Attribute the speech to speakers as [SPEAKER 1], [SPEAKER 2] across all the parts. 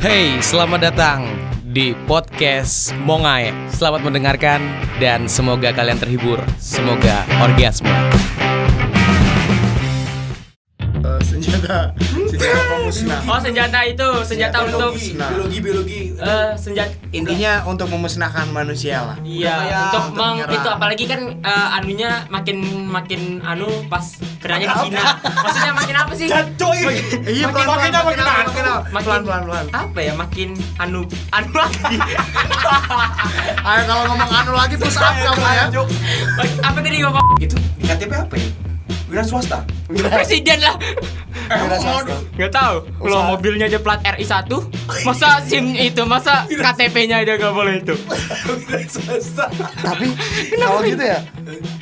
[SPEAKER 1] Hey, selamat datang di podcast Mongai. Selamat mendengarkan dan semoga kalian terhibur. Semoga orgasme.
[SPEAKER 2] Eh, senjata senjata pemusnah
[SPEAKER 3] Oh senjata itu senjata untuk
[SPEAKER 2] pemusnah
[SPEAKER 4] biologi
[SPEAKER 3] eh, senjata
[SPEAKER 2] intinya untuk memusnahkan manusia lah
[SPEAKER 3] iya
[SPEAKER 4] Kayak
[SPEAKER 3] untuk
[SPEAKER 2] untuk
[SPEAKER 3] meng
[SPEAKER 2] menyerang.
[SPEAKER 3] itu apalagi kan eh, anunya makin makin anu pas kerennya di Cina maksudnya makin apa sih
[SPEAKER 2] iya pelan pelan
[SPEAKER 3] makin apa,
[SPEAKER 2] pelan
[SPEAKER 3] makin apa,
[SPEAKER 2] pelan
[SPEAKER 3] makin-
[SPEAKER 2] pelan pelan pelan
[SPEAKER 3] apa ya makin anu anu lagi
[SPEAKER 2] ayo kalau ngomong anu lagi push up kamu ya
[SPEAKER 3] apa tadi bapak
[SPEAKER 4] itu di KTP apa ya wira swasta
[SPEAKER 3] presiden lah
[SPEAKER 5] Eh,
[SPEAKER 4] wira swasta
[SPEAKER 3] nggak tahu kalau
[SPEAKER 4] Usaha.
[SPEAKER 3] mobilnya aja plat RI 1 masa SIM itu masa KTP-nya aja gak boleh itu
[SPEAKER 4] wira swasta
[SPEAKER 5] Tapi kalau gitu ya,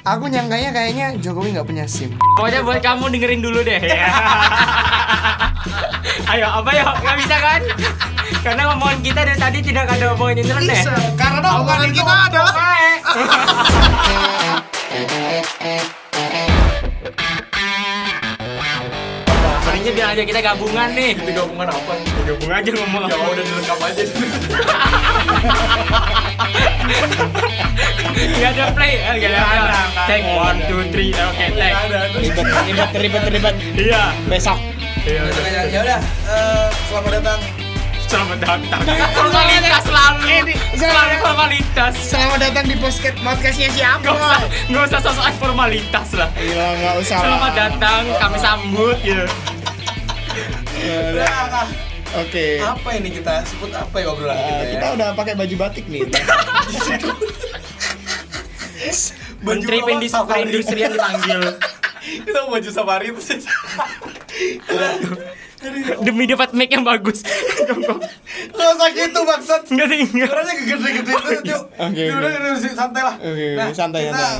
[SPEAKER 5] aku nyangkanya kayaknya Jokowi nggak punya SIM.
[SPEAKER 3] pokoknya buat kamu dengerin dulu deh ya. ayo apa ya nggak bisa kan karena omongan kita dari tadi tidak ada omongan internet
[SPEAKER 5] Eh,
[SPEAKER 2] karena omongan
[SPEAKER 5] gitu
[SPEAKER 2] kita adalah
[SPEAKER 3] Makanya biar aja kita gabungan nih.
[SPEAKER 4] itu gabungan apa
[SPEAKER 3] Gabung aja ngomong.
[SPEAKER 4] ya udah dilengkap aja
[SPEAKER 3] Gak ada play.
[SPEAKER 4] Iya,
[SPEAKER 3] eh, Gak ada. Take one, two, three. eh, Oke, take.
[SPEAKER 1] Ribet, ribet, ribet.
[SPEAKER 3] Iya.
[SPEAKER 1] Besok.
[SPEAKER 4] ya udah eh, selamat datang
[SPEAKER 3] Selamat datang.
[SPEAKER 2] Eh,
[SPEAKER 3] Formalitas selalu. Selalu formalitas.
[SPEAKER 2] selamat datang di podcast podcastnya siapa
[SPEAKER 3] Gak usah, gak usah sosok formalitas lah.
[SPEAKER 2] iya nggak usah lah.
[SPEAKER 3] Selamat datang, kami sambut gitu.
[SPEAKER 4] Udah, nah,
[SPEAKER 2] oke
[SPEAKER 4] apa ini kita sebut apa ya obrolan kita ya
[SPEAKER 2] kita udah pakai baju batik nih
[SPEAKER 4] Baju
[SPEAKER 3] Menteri
[SPEAKER 4] lawan
[SPEAKER 3] Pendis-
[SPEAKER 4] safari.
[SPEAKER 3] Perindustrian dipanggil.
[SPEAKER 4] kita baju safari itu sih
[SPEAKER 3] Demi dapat mic yang bagus.
[SPEAKER 4] nggak usah gitu maksud
[SPEAKER 3] Enggak sih, enggak.
[SPEAKER 4] Orangnya gede-gede itu yuk.
[SPEAKER 2] Oke,
[SPEAKER 4] Yuk,
[SPEAKER 2] oke.
[SPEAKER 4] Udah, udah, udah, santai lah. Nah,
[SPEAKER 2] Oke, oke, santai,
[SPEAKER 4] kita,
[SPEAKER 2] santai.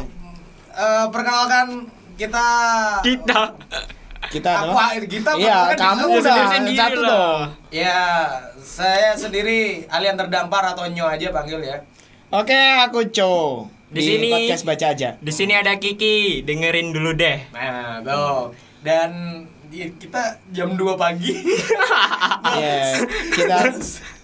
[SPEAKER 4] eh, perkenalkan kita
[SPEAKER 3] Kita
[SPEAKER 2] kita
[SPEAKER 4] Aku
[SPEAKER 2] adalah
[SPEAKER 4] kita
[SPEAKER 2] iya kamu
[SPEAKER 4] perkenalkan diri
[SPEAKER 2] udah
[SPEAKER 4] sendiri.
[SPEAKER 3] sendiri
[SPEAKER 2] satu
[SPEAKER 3] lah.
[SPEAKER 2] dong
[SPEAKER 4] Ya, saya sendiri alian terdampar atau nyo aja panggil ya.
[SPEAKER 2] oke aku Cho
[SPEAKER 3] Di sini.
[SPEAKER 2] podcast baca aja
[SPEAKER 3] Di sini ada Kiki, dengerin dulu deh.
[SPEAKER 4] Nah, tuh. Dan di- kita jam 2 pagi.
[SPEAKER 2] Yes. Kita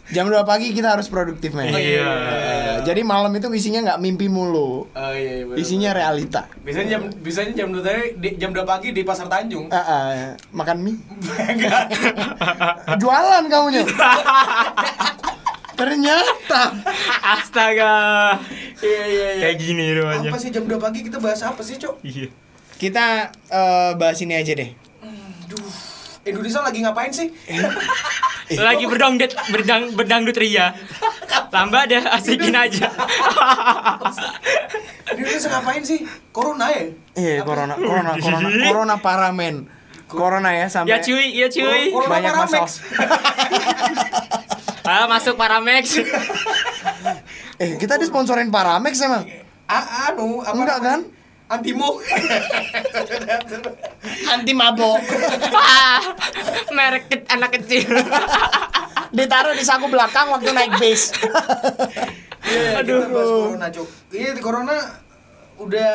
[SPEAKER 2] jam 2 pagi kita harus produktif, men.
[SPEAKER 3] Iya.
[SPEAKER 2] Eh, Jadi malam itu isinya nggak mimpi mulu.
[SPEAKER 4] Oh iya, iya, bener.
[SPEAKER 2] Isinya realita.
[SPEAKER 4] biasanya jam biasanya jam 2 tadi di- jam 2 pagi di Pasar Tanjung. Iya,
[SPEAKER 2] Eh, eh, makan mie.
[SPEAKER 4] Enggak.
[SPEAKER 2] Jualan kamunya. Ternyata
[SPEAKER 3] Astaga.
[SPEAKER 4] Iya, iya, iya.
[SPEAKER 3] Kayak gitu gini rumahnya.
[SPEAKER 4] Apa sih jam 2 pagi kita bahas apa sih, Cok?
[SPEAKER 3] Iya.
[SPEAKER 5] Kita eh, bahas ini aja deh.
[SPEAKER 4] Aduh. Indonesia lagi ngapain sih?
[SPEAKER 3] Lagi berdangdut berdang berdangdut ria. Tambah deh asikin aja.
[SPEAKER 4] Indonesia ngapain sih? Corona ya?
[SPEAKER 5] Iya,
[SPEAKER 4] Apa?
[SPEAKER 5] corona, corona,
[SPEAKER 3] Ih.
[SPEAKER 5] corona, corona para men. Corona ya sampai.
[SPEAKER 3] ya cuy, ya cuy.
[SPEAKER 4] Corona kan
[SPEAKER 5] Banyak
[SPEAKER 4] Paramex.
[SPEAKER 5] masalah.
[SPEAKER 3] Ah, masuk Paramex.
[SPEAKER 5] Eh, kita disponsorin Paramex emang.
[SPEAKER 4] A anu apa? Iya,
[SPEAKER 5] Enggak kan?
[SPEAKER 4] Antimo.
[SPEAKER 2] anti mabok
[SPEAKER 3] Ah, merek ke- anak kecil.
[SPEAKER 2] ditaruh di saku belakang waktu naik bis.
[SPEAKER 4] Iya,
[SPEAKER 3] Aduh.
[SPEAKER 4] kita bahas corona, Cuk. Iya, di corona udah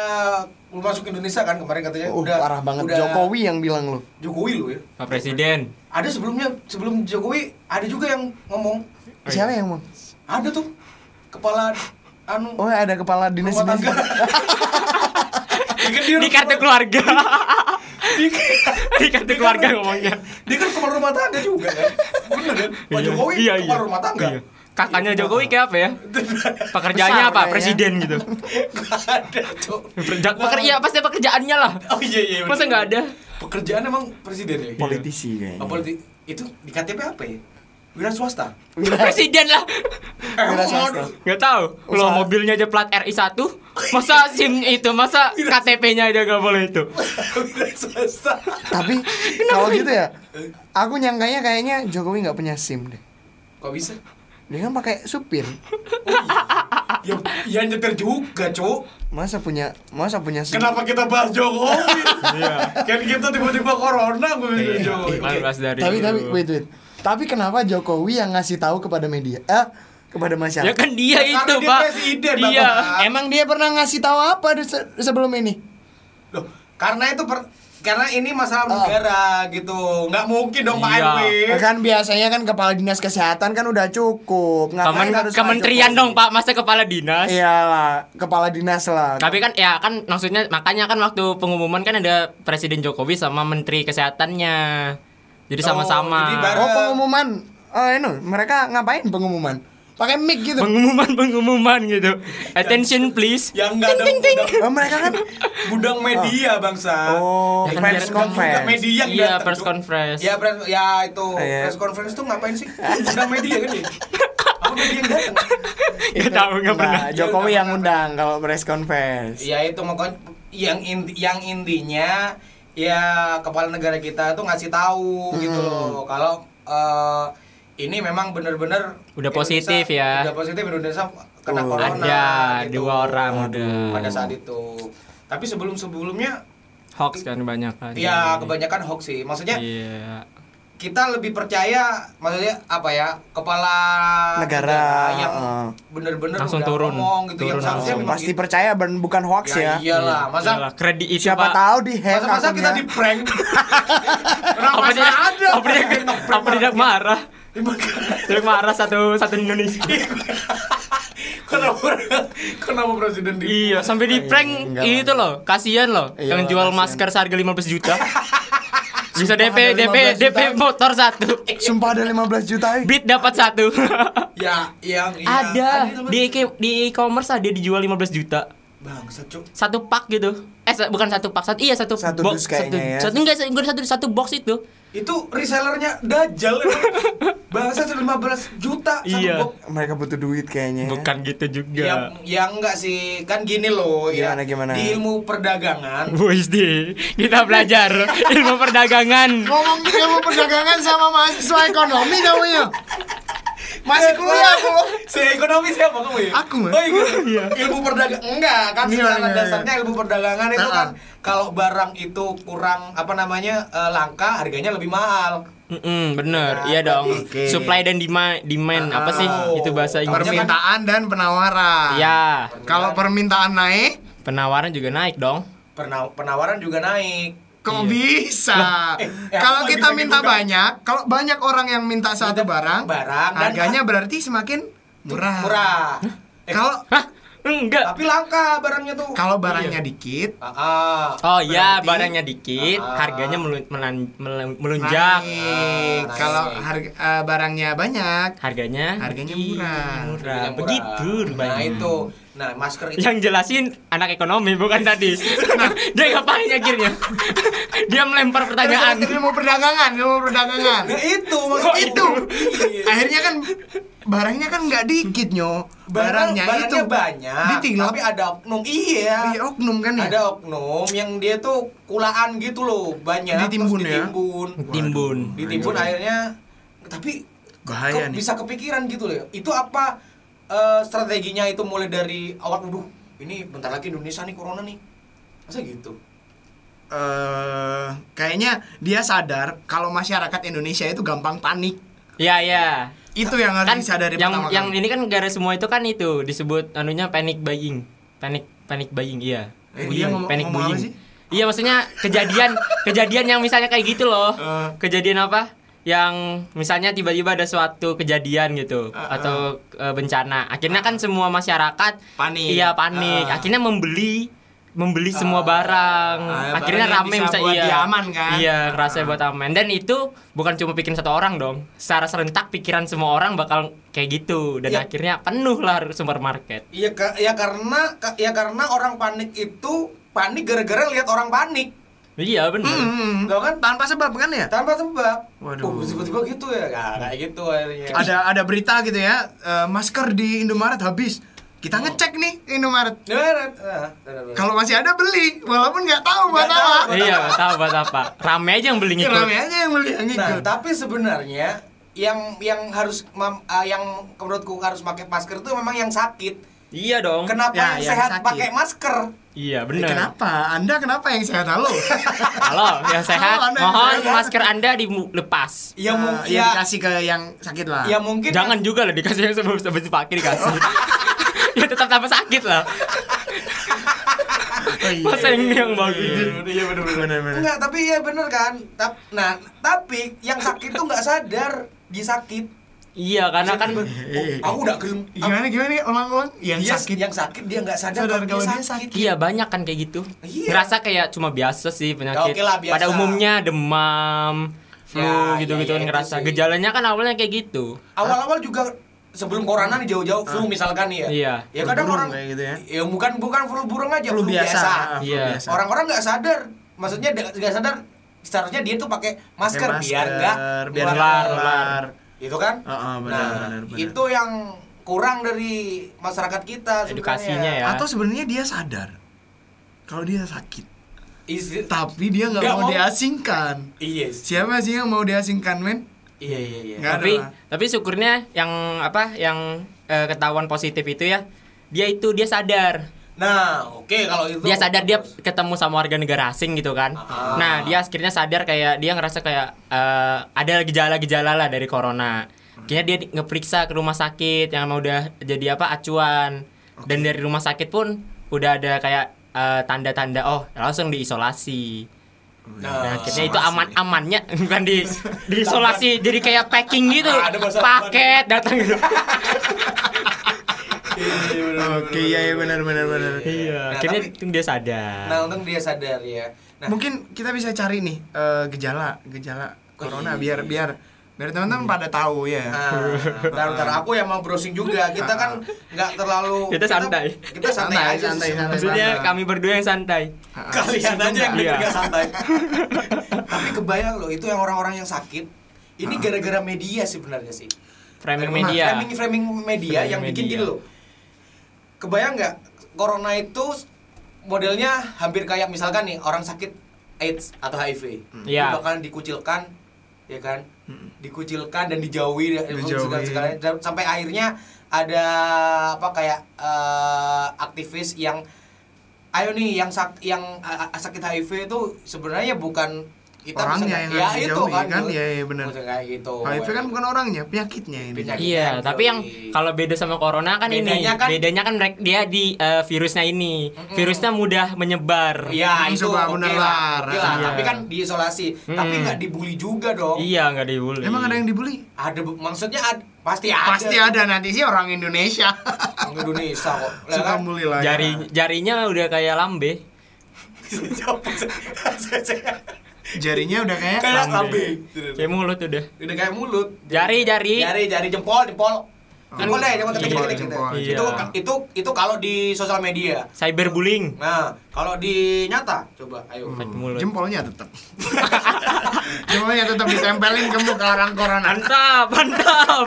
[SPEAKER 4] belum masuk Indonesia kan kemarin katanya
[SPEAKER 5] Oh,
[SPEAKER 4] udah
[SPEAKER 5] parah banget
[SPEAKER 4] udah-
[SPEAKER 5] Jokowi yang bilang lo.
[SPEAKER 4] Jokowi loh ya.
[SPEAKER 3] Pak Presiden.
[SPEAKER 4] Ada sebelumnya sebelum Jokowi ada juga yang ngomong
[SPEAKER 5] Siapa yang mau?
[SPEAKER 4] ada tuh kepala anu
[SPEAKER 5] Oh, ada kepala dinas
[SPEAKER 4] rumah tangga.
[SPEAKER 5] dinas.
[SPEAKER 4] Di,
[SPEAKER 3] Di kartu keluarga. Di kartu keluarga ngomongnya.
[SPEAKER 4] kan Dia kan kepala rumah tangga juga kan. Bener kan? Pak
[SPEAKER 3] Iya,
[SPEAKER 4] Jokowi
[SPEAKER 3] iya,
[SPEAKER 4] kepala
[SPEAKER 3] iya.
[SPEAKER 4] rumah tangga.
[SPEAKER 3] Iya. Kakaknya Jokowi kayak apa ya? Pekerjaannya
[SPEAKER 5] Besar
[SPEAKER 3] apa?
[SPEAKER 5] kayaknya.
[SPEAKER 3] Presiden gitu.
[SPEAKER 4] Gak ada, Cuk.
[SPEAKER 3] Pekerja, peker, iya pasti pekerjaannya lah.
[SPEAKER 4] Oh iya iya. bener.
[SPEAKER 3] Masa nggak ada?
[SPEAKER 4] Pekerjaan emang presiden ya?
[SPEAKER 5] Politisi kayaknya.
[SPEAKER 4] Apa di- itu di KTP apa ya? Wira swasta.
[SPEAKER 5] Iya.
[SPEAKER 3] Presiden lah.
[SPEAKER 4] Eh,
[SPEAKER 5] Wira swasta.
[SPEAKER 4] mau-
[SPEAKER 3] Nggak tahu. Kalau
[SPEAKER 5] Usaha.
[SPEAKER 3] mobilnya aja plat RI 1, masa SIM itu, masa KTP-nya aja nggak boleh itu.
[SPEAKER 4] Wira swasta.
[SPEAKER 5] Tapi kalau gitu ya, aku nyangkanya kayaknya Jokowi nggak punya SIM deh.
[SPEAKER 4] Kok bisa?
[SPEAKER 5] Dia kan pakai supir.
[SPEAKER 4] Ya, ya nyetir juga, Cuk.
[SPEAKER 5] Masa punya masa punya SIM?
[SPEAKER 4] Kenapa kita bahas Jokowi? kan kita tiba-tiba corona gue bilang
[SPEAKER 3] Iya.
[SPEAKER 4] Jokowi.
[SPEAKER 3] Oke. Bebas dari
[SPEAKER 5] Tapi
[SPEAKER 3] itu.
[SPEAKER 5] tapi wait wait. Tapi kenapa Jokowi yang ngasih tahu kepada media? Eh, kepada masyarakat.
[SPEAKER 3] Ya kan dia
[SPEAKER 4] Ya,
[SPEAKER 3] itu,
[SPEAKER 4] karena dia
[SPEAKER 3] Pak.
[SPEAKER 4] presiden,
[SPEAKER 3] Iya.
[SPEAKER 4] Bapak.
[SPEAKER 5] Emang dia pernah ngasih tahu apa di se- sebelum ini?
[SPEAKER 4] Loh, karena itu per- karena ini masalah negara gitu. Nggak mungkin dong Pak
[SPEAKER 3] Iya.
[SPEAKER 4] RW.
[SPEAKER 5] kan biasanya kan kepala dinas kesehatan kan udah cukup.
[SPEAKER 4] Nah,
[SPEAKER 3] Kemen-
[SPEAKER 5] Ngapain harus Pak
[SPEAKER 3] kementerian
[SPEAKER 5] Jokowi?
[SPEAKER 3] dong Pak, masa kepala dinas?
[SPEAKER 4] Iya.
[SPEAKER 5] Iyalah, kepala dinas lah.
[SPEAKER 3] Tapi kan ya kan maksudnya makanya kan waktu pengumuman kan ada Presiden Jokowi sama Menteri Kesehatannya. Jadi
[SPEAKER 4] Oh,
[SPEAKER 3] sama-sama.
[SPEAKER 4] jadi bareng.
[SPEAKER 5] Oh pengumuman, eh no, mereka ngapain pengumuman? Pakai mic gitu.
[SPEAKER 3] pengumuman pengumuman gitu. Attention please.
[SPEAKER 4] Yang Ya nggak ada gudang,
[SPEAKER 5] Oh, mereka kan
[SPEAKER 4] gudang media bangsa.
[SPEAKER 5] oh
[SPEAKER 3] Ya kan
[SPEAKER 5] press
[SPEAKER 3] biar-
[SPEAKER 4] Gudang
[SPEAKER 5] conference.
[SPEAKER 4] media
[SPEAKER 3] Iya,
[SPEAKER 4] datang,
[SPEAKER 3] press
[SPEAKER 4] Jo.
[SPEAKER 3] conference.
[SPEAKER 4] Ya press ya itu
[SPEAKER 5] Iya.
[SPEAKER 4] press conference tuh ngapain sih? Gudang media kan ya? Apa media yang datang?
[SPEAKER 3] Gak Iya, tahu nggak pernah. Iya,
[SPEAKER 5] Nah, Jokowi yang undang kalau press conference.
[SPEAKER 4] Ya itu makanya yang inti- yang intinya ya kepala negara kita tuh ngasih tahu gitu
[SPEAKER 5] Hmm.
[SPEAKER 4] loh kalau eh, ini memang bener-bener
[SPEAKER 3] Udah
[SPEAKER 4] Indonesia-
[SPEAKER 3] positif ya.
[SPEAKER 4] Udah positif Indonesia kena
[SPEAKER 5] Tuh.
[SPEAKER 4] corona.
[SPEAKER 3] Ada
[SPEAKER 4] gitu.
[SPEAKER 3] dua orang udah.
[SPEAKER 4] pada saat itu. Tapi sebelum-sebelumnya
[SPEAKER 3] Hoax kan banyak kan.
[SPEAKER 4] ya kebanyakan hoax sih. Maksudnya
[SPEAKER 3] Iya.
[SPEAKER 4] kita lebih percaya maksudnya apa ya kepala
[SPEAKER 5] Negara,
[SPEAKER 4] yang
[SPEAKER 5] heeh.
[SPEAKER 4] bener-bener
[SPEAKER 3] Langsung
[SPEAKER 4] udah
[SPEAKER 3] turun,
[SPEAKER 4] ngomong gitu yang
[SPEAKER 3] turun
[SPEAKER 4] seharusnya
[SPEAKER 3] langsung.
[SPEAKER 4] memang
[SPEAKER 5] Oh, Pasti
[SPEAKER 4] gitu.
[SPEAKER 5] percaya ben- bukan hoax
[SPEAKER 4] ya,
[SPEAKER 5] ya.
[SPEAKER 3] iya.
[SPEAKER 4] iyalah masa
[SPEAKER 3] Iyalah, kredit itu
[SPEAKER 5] Siapa
[SPEAKER 3] Pak.
[SPEAKER 5] tahu di hack
[SPEAKER 4] masa masa kita
[SPEAKER 5] akunnya.
[SPEAKER 4] di prank kenapa
[SPEAKER 3] Apa
[SPEAKER 4] masa
[SPEAKER 3] dia
[SPEAKER 4] ada
[SPEAKER 3] apa dia apa dia marah? Dia marah satu satu Indonesia.
[SPEAKER 4] Iya. kenapa kenapa presiden di
[SPEAKER 3] Iya, sampai di prank
[SPEAKER 5] enggak
[SPEAKER 3] itu loh. Kasihan loh
[SPEAKER 5] Iya,
[SPEAKER 3] yang jual
[SPEAKER 5] kasihan.
[SPEAKER 3] masker seharga 15 juta. Bisa
[SPEAKER 5] ada
[SPEAKER 3] DP DP
[SPEAKER 5] 15
[SPEAKER 3] DP
[SPEAKER 5] juta.
[SPEAKER 3] motor satu.
[SPEAKER 5] Sumpah ada 15 juta. eh.
[SPEAKER 3] Beat dapat satu.
[SPEAKER 4] ya yang iya.
[SPEAKER 3] ada di
[SPEAKER 4] di
[SPEAKER 3] e- di e-commerce ada dijual 15 juta.
[SPEAKER 4] bangsa cuk
[SPEAKER 3] Satu pak gitu. Eh sa- bukan satu pak, satu iya satu,
[SPEAKER 5] Satu dus
[SPEAKER 3] satu,
[SPEAKER 5] kayaknya ya.
[SPEAKER 3] satu enggak satu, enggak, satu satu box itu.
[SPEAKER 4] itu resellernya dajal bangsa sudah 15 juta satu
[SPEAKER 3] Iya.
[SPEAKER 4] box.
[SPEAKER 5] Mereka butuh duit kayaknya.
[SPEAKER 3] Bukan gitu juga.
[SPEAKER 4] Ya, ya enggak sih, kan gini loh ya.
[SPEAKER 5] Gimana, gimana?
[SPEAKER 4] Di ilmu perdagangan
[SPEAKER 3] Boys deh, kita belajar ilmu perdagangan.
[SPEAKER 5] Ngomong ilmu perdagangan sama mahasiswa ekonomi kamu ya. Masih kuliah aku.
[SPEAKER 4] Si ekonomi siapa kamu ya?
[SPEAKER 5] Aku, ya?
[SPEAKER 4] Oh, iya. Ilmu perdagangan Enggak, kan
[SPEAKER 5] Iya,
[SPEAKER 4] secara
[SPEAKER 5] iya, iya.
[SPEAKER 4] dasarnya ilmu perdagangan itu
[SPEAKER 5] Ah,
[SPEAKER 4] kan Kalau barang itu kurang, apa namanya, eh, langka, harganya lebih mahal
[SPEAKER 3] Mm-mm, bener, iya dong.
[SPEAKER 5] kan? Oke.
[SPEAKER 3] Supply dan demand, demand apa sih
[SPEAKER 4] Oh.
[SPEAKER 3] itu bahasa Inggrisnya? kan?
[SPEAKER 5] Permintaan dan penawaran.
[SPEAKER 3] Iya,
[SPEAKER 5] Kalau permintaan naik,
[SPEAKER 3] penawaran juga naik dong.
[SPEAKER 4] Pena- Penawaran juga naik
[SPEAKER 5] kok bisa?
[SPEAKER 4] Iya. eh, eh,
[SPEAKER 5] kalau
[SPEAKER 4] apa
[SPEAKER 5] kita
[SPEAKER 4] bisa
[SPEAKER 5] minta
[SPEAKER 4] dibuka?
[SPEAKER 5] banyak, kalau banyak orang yang minta satu barang,
[SPEAKER 4] barang dan- ah.
[SPEAKER 5] harganya berarti semakin murah.
[SPEAKER 4] Murah Eh,
[SPEAKER 5] Kalau
[SPEAKER 3] Hah? Enggak.
[SPEAKER 4] Tapi langka barangnya tuh
[SPEAKER 5] kalau barangnya dikit,
[SPEAKER 4] Ah, ah.
[SPEAKER 3] Oh iya,
[SPEAKER 5] Berarti-
[SPEAKER 3] barangnya dikit,
[SPEAKER 4] Ah.
[SPEAKER 3] harganya melun- melan- mel- melunjak.
[SPEAKER 5] naik.
[SPEAKER 4] Ah,
[SPEAKER 5] Kalau
[SPEAKER 4] naik.
[SPEAKER 5] harga eh, barangnya banyak,
[SPEAKER 3] Harganya
[SPEAKER 5] Harganya
[SPEAKER 3] Ih,
[SPEAKER 5] murah.
[SPEAKER 3] murah.
[SPEAKER 4] Harganya murah.
[SPEAKER 3] Begitu Ya. rupanya.
[SPEAKER 4] Nah itu Nah masker itu
[SPEAKER 3] Yang jelasin anak ekonomi bukan tadi.
[SPEAKER 5] Nah.
[SPEAKER 3] dia ngapain akhirnya? dia melempar pertanyaan.
[SPEAKER 5] ilmu perdagangan, ilmu perdagangan.
[SPEAKER 4] Nah, itu maksud
[SPEAKER 5] itu.
[SPEAKER 4] Iya.
[SPEAKER 5] Akhirnya kan barangnya kan nggak dikit nyo. Barangnya, itu
[SPEAKER 4] banyak
[SPEAKER 5] ditinggal.
[SPEAKER 4] tapi ada oknum iya
[SPEAKER 5] Iya, oknum kan ya.
[SPEAKER 4] ada oknum yang dia tuh kulaan gitu loh banyak
[SPEAKER 5] Ditimbun
[SPEAKER 4] terus
[SPEAKER 5] ya?
[SPEAKER 4] ditimbun
[SPEAKER 3] Timbun.
[SPEAKER 4] ditimbun akhirnya tapi kok
[SPEAKER 5] Bahaya nih.
[SPEAKER 4] bisa kepikiran gitu loh ya. itu apa eh, strateginya itu mulai dari awal dulu ini bentar lagi Indonesia nih corona nih masa gitu
[SPEAKER 5] Eh, kayaknya dia sadar kalau masyarakat Indonesia itu gampang panik.
[SPEAKER 3] Iya, iya.
[SPEAKER 5] Itu yang harus
[SPEAKER 3] Kan
[SPEAKER 5] disadari
[SPEAKER 3] yang
[SPEAKER 5] pertama
[SPEAKER 3] yang
[SPEAKER 5] kali.
[SPEAKER 3] ini kan gara semua itu kan itu disebut anunya panic buying. Panic panic buying, iya.
[SPEAKER 5] Eh,
[SPEAKER 3] Buying,
[SPEAKER 5] dia ngomong-
[SPEAKER 3] panic
[SPEAKER 5] ngomong apa
[SPEAKER 3] buying.
[SPEAKER 5] sih?
[SPEAKER 3] Iya, maksudnya kejadian kejadian yang misalnya kayak gitu loh.
[SPEAKER 5] Eh.
[SPEAKER 3] Kejadian apa? Yang misalnya tiba-tiba ada suatu kejadian gitu
[SPEAKER 5] Eh, Ah.
[SPEAKER 3] atau eh, bencana. Akhirnya kan semua masyarakat
[SPEAKER 5] Panik.
[SPEAKER 3] Iya,
[SPEAKER 4] Ah.
[SPEAKER 3] panik.
[SPEAKER 5] Eh.
[SPEAKER 3] Akhirnya membeli membeli semua barang.
[SPEAKER 5] Ah,
[SPEAKER 3] Akhirnya
[SPEAKER 5] barang yang
[SPEAKER 3] rame
[SPEAKER 5] bisa
[SPEAKER 3] bisa
[SPEAKER 5] buat
[SPEAKER 3] iya.
[SPEAKER 5] dia aman, kan?
[SPEAKER 3] Iya, ngerasa buat aman. Dan itu bukan cuma pikiran satu orang dong. Secara serentak pikiran semua orang bakal kayak gitu dan
[SPEAKER 4] Iya.
[SPEAKER 3] akhirnya penuh lah supermarket.
[SPEAKER 4] Iya ka- ya karena ka- ya karena orang panik itu panik gara-gara lihat orang panik
[SPEAKER 3] Iya,
[SPEAKER 5] Hmm,
[SPEAKER 3] bener
[SPEAKER 5] hmm,
[SPEAKER 4] Tau kan?
[SPEAKER 5] hmm. tanpa sebab kan ya?
[SPEAKER 4] tanpa sebab.
[SPEAKER 5] Waduh.
[SPEAKER 4] Oh, tiba-tiba gitu ya. Nah, kayak gitu akhirnya.
[SPEAKER 5] Ada ada berita gitu ya, eh, masker di Indomaret habis. Kita
[SPEAKER 4] Oh.
[SPEAKER 5] ngecek nih Indomaret.
[SPEAKER 4] Nah, nah, nah, nah.
[SPEAKER 5] Kalau masih ada beli, walaupun nggak tahu buat
[SPEAKER 4] Nggak
[SPEAKER 5] apa. Iya,
[SPEAKER 4] tahu.
[SPEAKER 3] iya, nggak tahu buat apa. Rame aja yang beli ngikut.
[SPEAKER 5] Rame aja yang beli yang
[SPEAKER 4] Nah,
[SPEAKER 5] ikut.
[SPEAKER 4] tapi sebenarnya yang yang harus mem- eh, yang menurutku harus pakai masker itu memang yang sakit.
[SPEAKER 3] Iya dong.
[SPEAKER 4] Kenapa
[SPEAKER 5] Ya,
[SPEAKER 4] yang
[SPEAKER 5] yang
[SPEAKER 4] sehat
[SPEAKER 5] sakit.
[SPEAKER 4] pakai masker?
[SPEAKER 3] Iya,
[SPEAKER 5] Eh,
[SPEAKER 3] bener
[SPEAKER 5] Kenapa? Anda kenapa yang sehat halo?
[SPEAKER 3] Halo, yang sehat,
[SPEAKER 5] Halo, Anda yang
[SPEAKER 3] mohon
[SPEAKER 5] sehat.
[SPEAKER 3] masker Anda dilepas.
[SPEAKER 4] Ya,
[SPEAKER 5] Eh,
[SPEAKER 4] mung-
[SPEAKER 5] ya
[SPEAKER 4] ya,
[SPEAKER 5] dikasih ke yang sakit lah.
[SPEAKER 4] ya mungkin
[SPEAKER 3] Jangan juga lah dikasih yang sebelum
[SPEAKER 5] Oh.
[SPEAKER 3] sebelum dipakai dikasih. ya tetap tambah sakit lah.
[SPEAKER 5] iya.
[SPEAKER 3] Masa yang ini yang bagus
[SPEAKER 5] Iya, Iya benar benar benar.
[SPEAKER 4] Enggak, tapi ya bener kan. Tap- nah, tapi yang sakit tuh nggak sadar disakit.
[SPEAKER 3] Iya karena kan
[SPEAKER 4] Aku udah gelem.
[SPEAKER 5] Gimana gimana nih ulang-ulang Iya, yang
[SPEAKER 4] Dia
[SPEAKER 5] sakit.
[SPEAKER 4] yang sakit dia nggak sadar
[SPEAKER 5] Sadar
[SPEAKER 4] kalau dia
[SPEAKER 5] kalau dia
[SPEAKER 4] sakit.
[SPEAKER 3] Iya banyak kan kayak gitu
[SPEAKER 4] Iya.
[SPEAKER 3] Ngerasa kayak cuma biasa sih penyakit
[SPEAKER 4] Oke lah, biasa.
[SPEAKER 3] Pada umumnya demam Flu
[SPEAKER 4] Ya,
[SPEAKER 3] gitu-gitu
[SPEAKER 4] ya, ya,
[SPEAKER 3] kan
[SPEAKER 4] itu
[SPEAKER 3] ngerasa
[SPEAKER 4] sih.
[SPEAKER 3] Gejalanya kan awalnya kayak gitu
[SPEAKER 4] Awal-awal juga sebelum corona nih jauh-jauh flu misalkan nih ya.
[SPEAKER 3] Iya.
[SPEAKER 4] Ya
[SPEAKER 5] Ah. Flu
[SPEAKER 4] kadang
[SPEAKER 5] burung
[SPEAKER 4] orang
[SPEAKER 5] kayak gitu ya.
[SPEAKER 4] bukan bukan flu burung aja,
[SPEAKER 5] Flu biasa. ah, flu
[SPEAKER 3] Iya.
[SPEAKER 5] biasa.
[SPEAKER 4] Orang-orang nggak sadar. Maksudnya nggak nggak sadar seharusnya dia tuh pakai masker,
[SPEAKER 5] Pakai
[SPEAKER 4] biar nggak
[SPEAKER 5] biar
[SPEAKER 4] nular.
[SPEAKER 5] nular. nular.
[SPEAKER 4] Itu kan?
[SPEAKER 5] Heeh, benar,
[SPEAKER 4] nah,
[SPEAKER 5] benar, benar.
[SPEAKER 4] itu yang kurang dari masyarakat kita sebenarnya.
[SPEAKER 3] Edukasinya ya
[SPEAKER 5] Atau sebenarnya dia sadar kalau dia sakit,
[SPEAKER 4] Is-
[SPEAKER 5] tapi dia nggak
[SPEAKER 4] Nggak
[SPEAKER 5] mau,
[SPEAKER 4] mau.
[SPEAKER 5] diasingkan.
[SPEAKER 4] Iya. sih.
[SPEAKER 5] Siapa sih yang mau diasingkan, men?
[SPEAKER 4] Iya, iya, iya.
[SPEAKER 5] Nggak
[SPEAKER 3] tapi
[SPEAKER 5] ada lah.
[SPEAKER 3] tapi syukurnya yang apa yang eh, ketahuan positif itu ya dia itu dia sadar
[SPEAKER 4] Nah, oke kalau itu.
[SPEAKER 3] dia sadar dia ketemu sama warga negara asing gitu kan
[SPEAKER 4] Ah.
[SPEAKER 3] nah dia akhirnya sadar kayak dia ngerasa kayak eh, ada gejala-gejala lah dari corona akhirnya dia di- ngeperiksa ke rumah sakit yang emang udah jadi apa acuan dan dari rumah sakit pun udah ada kayak eh, tanda-tanda oh langsung diisolasi
[SPEAKER 4] Ah,
[SPEAKER 3] Nah, akhirnya itu aman-amannya bukan di diisolasi jadi kayak packing gitu.
[SPEAKER 4] Ah, Ada Iya. bahasa
[SPEAKER 3] Paket datang gitu.
[SPEAKER 4] iya,
[SPEAKER 5] Oke, iya iya benar benar benar. Iya.
[SPEAKER 4] Nah,
[SPEAKER 3] Iya, akhirnya
[SPEAKER 4] tapi-
[SPEAKER 3] itu dia sadar.
[SPEAKER 4] Nah, untung dia sadar ya. Nah,
[SPEAKER 5] Mungkin kita bisa cari nih eh, gejala gejala corona
[SPEAKER 4] iya.
[SPEAKER 5] biar biar biar teman-teman pada tahu ya.
[SPEAKER 4] Nah, ntar, ntar aku yang mau browsing juga. Kita kan nggak terlalu
[SPEAKER 3] Kita santai.
[SPEAKER 4] Kita santai,
[SPEAKER 5] Santai,
[SPEAKER 4] aja.
[SPEAKER 5] santai,
[SPEAKER 4] sih.
[SPEAKER 5] santai.
[SPEAKER 3] Maksudnya
[SPEAKER 5] banget.
[SPEAKER 3] kami berdua yang santai.
[SPEAKER 5] Ah, ah.
[SPEAKER 4] Kalian aja yang
[SPEAKER 3] Iya.
[SPEAKER 4] nggak santai. Tapi kebayang loh itu yang orang-orang yang sakit. Ini gara-gara media sih sebenarnya sih.
[SPEAKER 3] Framing
[SPEAKER 4] Nah,
[SPEAKER 3] media.
[SPEAKER 4] Framing framing media
[SPEAKER 3] Framing
[SPEAKER 4] yang bikin
[SPEAKER 3] media.
[SPEAKER 4] gini loh. Kebayang nggak corona itu modelnya hampir kayak misalkan nih orang sakit AIDS atau HIV.
[SPEAKER 3] Iya. Hmm.
[SPEAKER 4] Itu bakalan dikucilkan ya kan? Dikucilkan dan dijauhi, ya,
[SPEAKER 5] Dijauhi.
[SPEAKER 4] segala- segala- dan sampai akhirnya ada apa kayak eh, aktivis yang ayo nih yang sak yang eh, sakit HIV itu sebenarnya bukan kita bisa-
[SPEAKER 5] Orangnya yang
[SPEAKER 4] ya
[SPEAKER 5] harus
[SPEAKER 4] itu
[SPEAKER 5] dijauhi,
[SPEAKER 4] kan,
[SPEAKER 5] kan?
[SPEAKER 4] gitu.
[SPEAKER 5] Iya, iya, benar.
[SPEAKER 4] Maksudnya kayak gitu
[SPEAKER 5] HIV kan bukan orangnya, penyakitnya ini.
[SPEAKER 4] Penyakit.
[SPEAKER 3] Iya,
[SPEAKER 4] Framing
[SPEAKER 3] tapi yang
[SPEAKER 4] teori.
[SPEAKER 3] kalau beda sama corona kan ini
[SPEAKER 4] gitu. Bedanya kan-
[SPEAKER 3] bedanya kan merek- dia di eh, virusnya ini. Virusnya mudah menyebar.
[SPEAKER 4] Iya
[SPEAKER 5] Ini
[SPEAKER 4] itu
[SPEAKER 5] coba
[SPEAKER 4] oke
[SPEAKER 5] bener
[SPEAKER 4] lah,
[SPEAKER 5] lah.
[SPEAKER 4] oke lah.
[SPEAKER 3] Iya.
[SPEAKER 4] Tapi kan diisolasi, tapi
[SPEAKER 3] Hmm.
[SPEAKER 4] nggak dibully juga dong.
[SPEAKER 3] Iya, nggak dibully.
[SPEAKER 5] Emang ada yang dibully?
[SPEAKER 4] Ada bu- maksudnya ad- pasti ada.
[SPEAKER 5] Pasti ada nanti sih orang Indonesia.
[SPEAKER 4] Orang Indonesia kok. Lah
[SPEAKER 5] Suka
[SPEAKER 4] kan?
[SPEAKER 5] bully lah. ya.
[SPEAKER 3] jari jarinya udah kayak lambe.
[SPEAKER 5] jarinya udah kayak
[SPEAKER 4] Kayak lambe.
[SPEAKER 3] Kayak mulut udah.
[SPEAKER 4] Udah kayak mulut.
[SPEAKER 3] Jari, jari.
[SPEAKER 4] Jari jari jempol jempol. Jempol deh, jempol ketik
[SPEAKER 5] Kan Jempol,
[SPEAKER 4] ketik ketik.
[SPEAKER 5] jempol.
[SPEAKER 4] Itu
[SPEAKER 3] Iya.
[SPEAKER 4] itu itu kalau di sosial media.
[SPEAKER 3] Cyberbullying.
[SPEAKER 4] Nah, kalau di nyata coba ayo.
[SPEAKER 5] Hmm.
[SPEAKER 3] Kayak mulut.
[SPEAKER 5] Jempolnya tetap. Jempolnya tetap ditempelin ke muka orang corona.
[SPEAKER 3] Mantap, mantap.